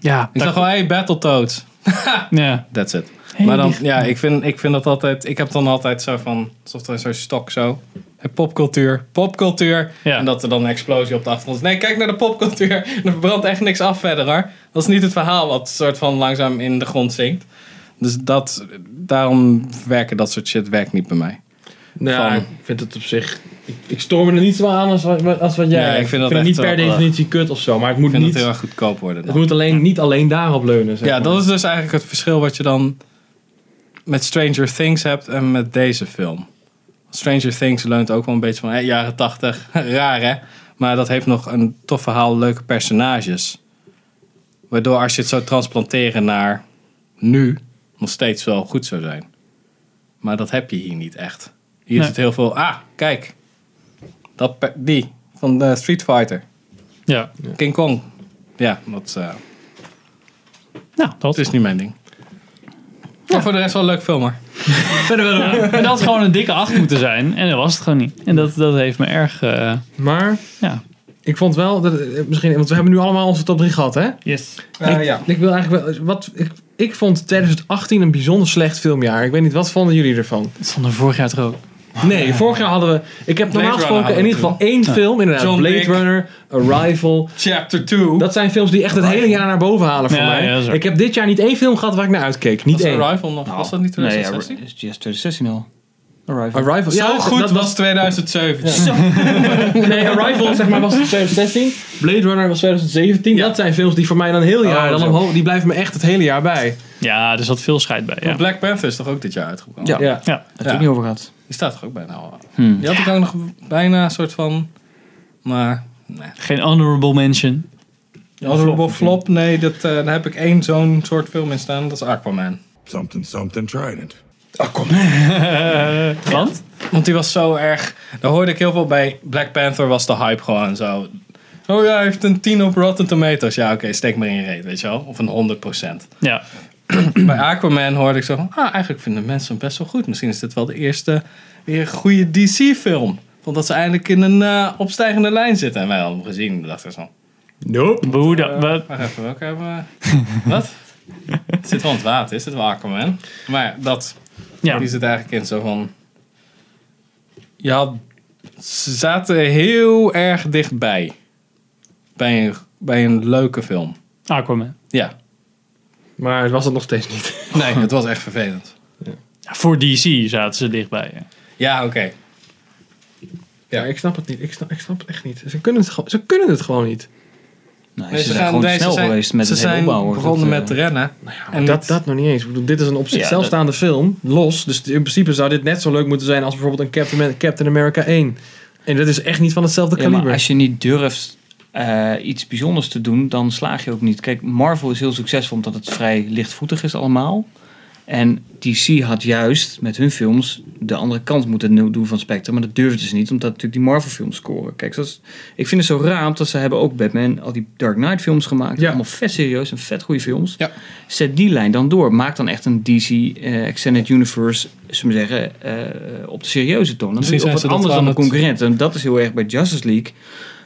A: ja,
D: Ik dacht wel, hey, Battletoads.
A: Nou, ja.
D: That's it.
A: Hey,
D: maar dan,
A: die-
D: ja, ik vind, ik vind dat altijd, ik heb dan altijd zo van, alsof er zo'n stok zo. Hey, Popcultuur, popcultuur. En dat er dan een explosie op de achtergrond is. Nee, kijk naar de popcultuur. Er verbrandt echt niks af verder hoor. Dat is niet het verhaal wat soort van langzaam in de grond zinkt. Dus dat, daarom werken dat soort shit werkt niet bij mij.
C: Nou,
D: Van-
C: ik vind het op zich. Ik, ik storm me er niet zo aan als, wat- als wat jij.
D: Nee, ik vind dat
C: het
D: echt
C: niet per
D: wel- eh,
C: definitie kut of zo, maar het
D: Ik
C: moet
D: vind
C: niet.
D: het heel erg goedkoop worden.
C: het
D: Dan.
C: moet alleen, niet alleen daarop leunen. Zeg
D: Ja,
C: maar.
D: dat is dus eigenlijk het verschil wat je dan met Stranger Things hebt en met deze film. Stranger Things leunt ook wel een beetje van hè, jaren tachtig, raar hè. Maar dat heeft nog een tof verhaal, leuke personages. Waardoor als je het zou transplanteren naar nu, nog steeds wel goed zou zijn. Maar dat heb je hier niet echt. Hier
A: Nee.
D: is het heel veel, ah, kijk. Dat, pe- die, van de Street Fighter.
A: Ja.
D: King Kong. Ja, dat... eh,
A: nou, dat
D: is niet mijn ding. Maar voor de rest wel een leuk film hoor.
A: Verder wel. En dat had gewoon een dikke acht moeten zijn. En dat was het gewoon niet. En dat, dat heeft me erg. eh,
C: Maar
A: ja.
C: ik vond wel, dat, eh, misschien, want we hebben nu allemaal onze top 3 gehad, hè?
A: Yes.
D: Eh,
C: ik, ik wil eigenlijk wel, wat, ik, ik vond 2018 een bijzonder slecht filmjaar. Ik weet niet, wat vonden jullie ervan?
A: Dat stond er vorig jaar toch ook.
C: Nee, vorig jaar hadden we, ik heb normaal
D: Runner
C: gesproken
D: hadden
C: in
D: we
C: ieder geval
D: toen.
C: één
D: Ja.
C: film, inderdaad.
D: John
C: Blade
D: Wick.
C: Runner, Arrival.
D: Chapter 2.
C: Dat zijn films die echt het hele jaar naar boven halen voor
D: Ja,
C: mij.
D: ja, dat is waar.
C: ik heb dit jaar niet één film gehad waar ik naar uitkeek. Niet
D: was
C: één.
D: Arrival nog? was dat niet
C: Nou, nee,
D: 2016? Nee, is 2016 al. Arrival.
C: Arrival.
D: Zo
C: Ja,
D: goed
C: dat
D: was 2017. Zo.
C: nee, Arrival zeg maar was 2016. Blade Runner was 2017. Dat zijn films die voor mij dan heel jaar dan
D: Oh, zo.
C: omhoog. Die blijven me echt het hele jaar bij.
A: Ja, er zat veel scheid bij. Ja.
D: Maar Black Panther is toch ook dit jaar uitgekomen?
C: Ja. Ja.
A: Ja.
D: Daar heb ik niet
B: over gehad.
D: Die staat toch ook bijna al.
A: Hmm.
D: Die had ik ook nog bijna een soort van. Maar. Nee.
A: Geen honorable mention.
D: Honorable flop, nee, dat, eh, daar heb ik één zo'n soort film in staan, dat is Aquaman.
M: Something, something trident.
A: Want?
D: Want die was zo erg. Daar hoorde ik heel veel bij. Black Panther was de hype gewoon zo. Oh ja, hij heeft een 10 op Rotten Tomatoes. Ja, oké, steek maar in je reet, weet je wel. Of een 100%.
A: Ja.
D: Bij Aquaman hoorde ik zo van, ah, eigenlijk vinden mensen hem best wel goed. Misschien is dit wel de eerste weer goede DC-film. Omdat ze eindelijk in een eh, opstijgende lijn zitten. En wij hadden hem gezien en dachten zo,
A: Nope. Hoe
D: Eh,
A: dan? Wat?
D: wacht even, welke hebben we? Wat? Het zit wel in het water, is het wel Aquaman? Maar ja, dat,
A: ja.
D: die zit eigenlijk in zo van... Je had, ze zaten heel erg dichtbij. Bij een, bij een leuke film.
A: Aquaman.
D: Ja.
C: Maar het was het nog steeds niet.
D: Nee, het was echt vervelend.
A: Ja, Voor DC zaten ze dichtbij. ja.
D: Ja, oké.
C: Ja, ik snap het niet. Ik snap, ik snap het echt niet. Ze kunnen het, gewoon- ze kunnen het gewoon niet.
D: Nee, ze, gaan, nee, ze zijn, ze zijn begonnen
B: eh,
D: met rennen.
C: En dat, dat nog niet eens. Ik bedoel, dit is een op
D: Ja,
C: zichzelf
D: dat-
C: staande film, los. Dus in principe zou dit net zo leuk moeten zijn als bijvoorbeeld een Captain, Captain America 1. En dat is echt niet van hetzelfde
B: Ja,
C: kaliber.
B: maar als je niet durft eh, iets bijzonders te doen, dan slaag je ook niet. Kijk, Marvel is heel succesvol omdat het vrij lichtvoetig is allemaal. En DC had juist met hun films de andere kant moeten no- doen van het spectrum. Maar dat durfden ze niet, omdat natuurlijk die Marvel films scoren. Kijk, zoals, ik vind het zo raar, omdat ze hebben ook Batman, al die Dark Knight films gemaakt. Allemaal vet serieus en vet goede films. Zet die lijn dan door. Maak dan echt een DC eh, Extended Universe, zullen we zeggen, eh, op de serieuze toon. Dan doe
D: Misschien zijn
B: je op wat
D: ze dat
B: anders
D: wel
B: dan
D: aan
B: de
D: het-
B: concurrent. En dat is heel erg bij Justice League.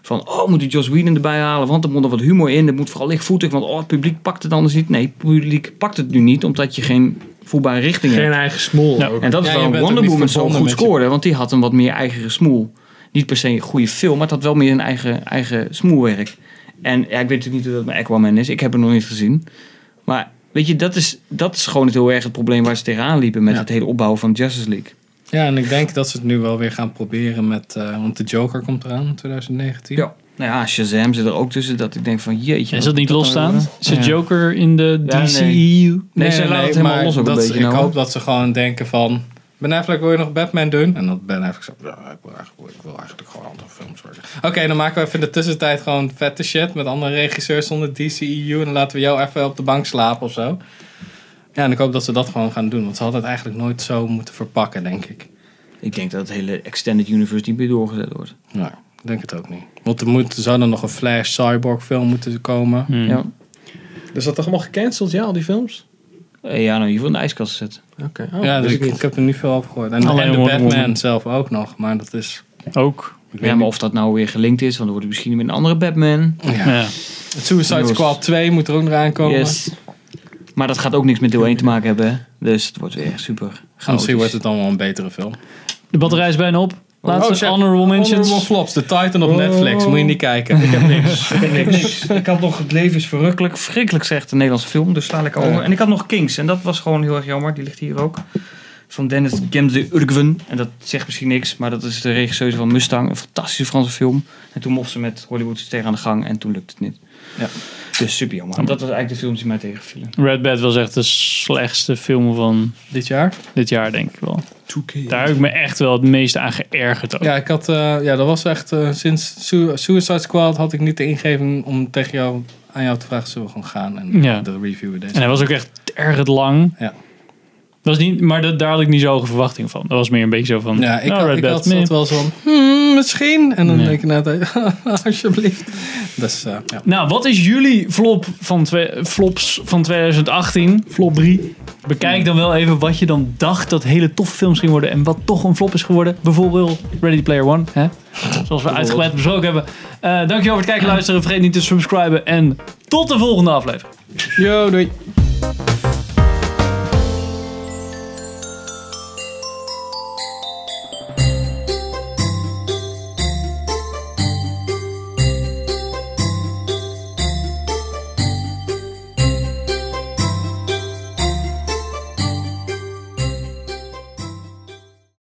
B: Van, oh, moet die Joss Whedon erbij halen, want er moet er wat humor in. Er moet vooral lichtvoetig, want oh, het publiek pakt het anders niet. Nee, het publiek pakt het nu niet, omdat je geen voelbare richting
C: Geen
B: hebt.
C: eigen smoel. ook.
B: En dat is
C: Ja, je
B: waarom
C: bent ook
B: Wonder
C: niet
B: Woman zo
C: verbonden
B: goed
C: met je-
B: scoorde, want die had een wat meer eigen smoel. Niet per se een goede film, maar het had wel meer een eigen, eigen smoelwerk. En ja, ik weet natuurlijk niet hoe dat met Aquaman is. Ik heb hem nog niet gezien. Maar weet je, dat is, dat is gewoon het heel erg het probleem waar ze tegenaan liepen met het hele opbouwen van Justice League.
D: Ja, en ik denk dat ze het nu wel weer gaan proberen met... eh, want de Joker komt eraan in 2019.
B: Ja. Nou ja, Shazam zit er ook tussen dat ik denk van jeetje.
A: Is
B: wat
A: dat niet
B: dan
A: losstaand?
B: weer?
A: Is de
B: Ja.
A: Joker in de E
B: Ja, nee.
A: DCEU?
B: Nee, ze laten het helemaal
D: maar
B: los ook een
D: dat-
B: beetje.
D: Ik
B: nou,
D: hoop
B: hoor.
D: dat ze gewoon denken van... Ben Affleck, wil je nog Batman doen? En dat Ben Affleck zo... "Ja, ik, wil eigenlijk, ik wil eigenlijk gewoon andere films worden. Oké, dan maken we even in de tussentijd gewoon vette shit... met andere regisseurs zonder DCEU... en dan laten we jou even op de bank slapen of zo. Ja, en ik hoop dat ze dat gewoon gaan doen. Want ze hadden het eigenlijk nooit zo moeten verpakken, denk ik.
B: Ik denk dat het hele Extended Universe niet meer doorgezet wordt.
D: Nou, ik denk het ook niet. Want er, moet, er zou dan nog een Flash Cyborg film moeten komen.
A: Mm. Hmm.
B: Ja.
C: Dus dat toch allemaal gecanceld, ja, al die films?
B: Eh, ja, nou, in ieder geval in de ijskast gezet.
C: Oké. Oh,
D: ja, dus ik, ik heb er niet veel over gehoord. En,
B: Alleen
D: en de
B: Wonder
D: Batman
B: Woman.
D: zelf ook nog, maar dat is...
A: Ook.
B: Ja, maar of dat nou weer gelinkt is, want dan wordt het misschien met een andere Batman.
A: Ja.
D: Het Suicide Squad 2 moet er ook nog aankomen.
B: Yes. Maar dat gaat ook niks met deel 1 te maken hebben. hè? Dus het wordt weer super chaotisch.
D: Misschien wordt het dan wel een betere film.
A: De batterij is bijna op. Laatste
D: Oh, shit.
A: honorable mentions.
D: Honorable flops, The Titan op Netflix. Moet je niet kijken. Ik heb niks.
B: Ik heb niks. Ik had nog Het leven is verrukkelijk. Verschrikkelijk zegt de Nederlandse film. Dus sla ik over. En ik had nog Kings. En dat was gewoon heel erg jammer. Die ligt hier ook. Van Dennis Gemde Urgwen. En dat zegt misschien niks. Maar dat is de regisseur van Mustang. Een fantastische Franse film. En toen mocht ze met Hollywood tegen aan de gang. En toen lukte het niet.
D: Ja.
B: Dus super jammer. Dat was eigenlijk de films die mij tegenvielen.
A: Red Bad was echt de slechtste film van...
D: Dit jaar?
A: Dit jaar, denk ik wel. Daar heb ik me echt wel het meest aan geërgerd ook.
D: Ja, ik had, eh, ja, dat was echt... eh, sinds Su- Suicide Squad had ik niet de ingeving om tegen jou, aan jou te vragen... Zullen we gewoon gaan en
A: Ja.
D: de reviewen deze
A: En hij was ook echt erg lang.
D: Ja.
A: Dat was niet, maar dat, daar had ik niet zo hoge verwachting van. Dat was meer een beetje zo van...
D: Ja, ik,
A: nou,
D: had,
A: Red
D: ik
A: Bad,
D: had
A: meh.
D: zat wel zo'n... Hmm, misschien. En dan
A: Nee.
D: denk ik na het alsjeblieft. Dus, eh, ja.
A: Nou, wat is jullie flop van twe- flops van 2018? Flop 3. Bekijk dan wel even wat je dan dacht dat hele toffe films gingen worden en wat toch een flop is geworden. Bijvoorbeeld Ready Player One, hè? zoals we uitgebreid besproken hebben. Eh, dankjewel voor het kijken en luisteren. Vergeet niet te subscriben en tot de volgende aflevering.
D: Yo, doei.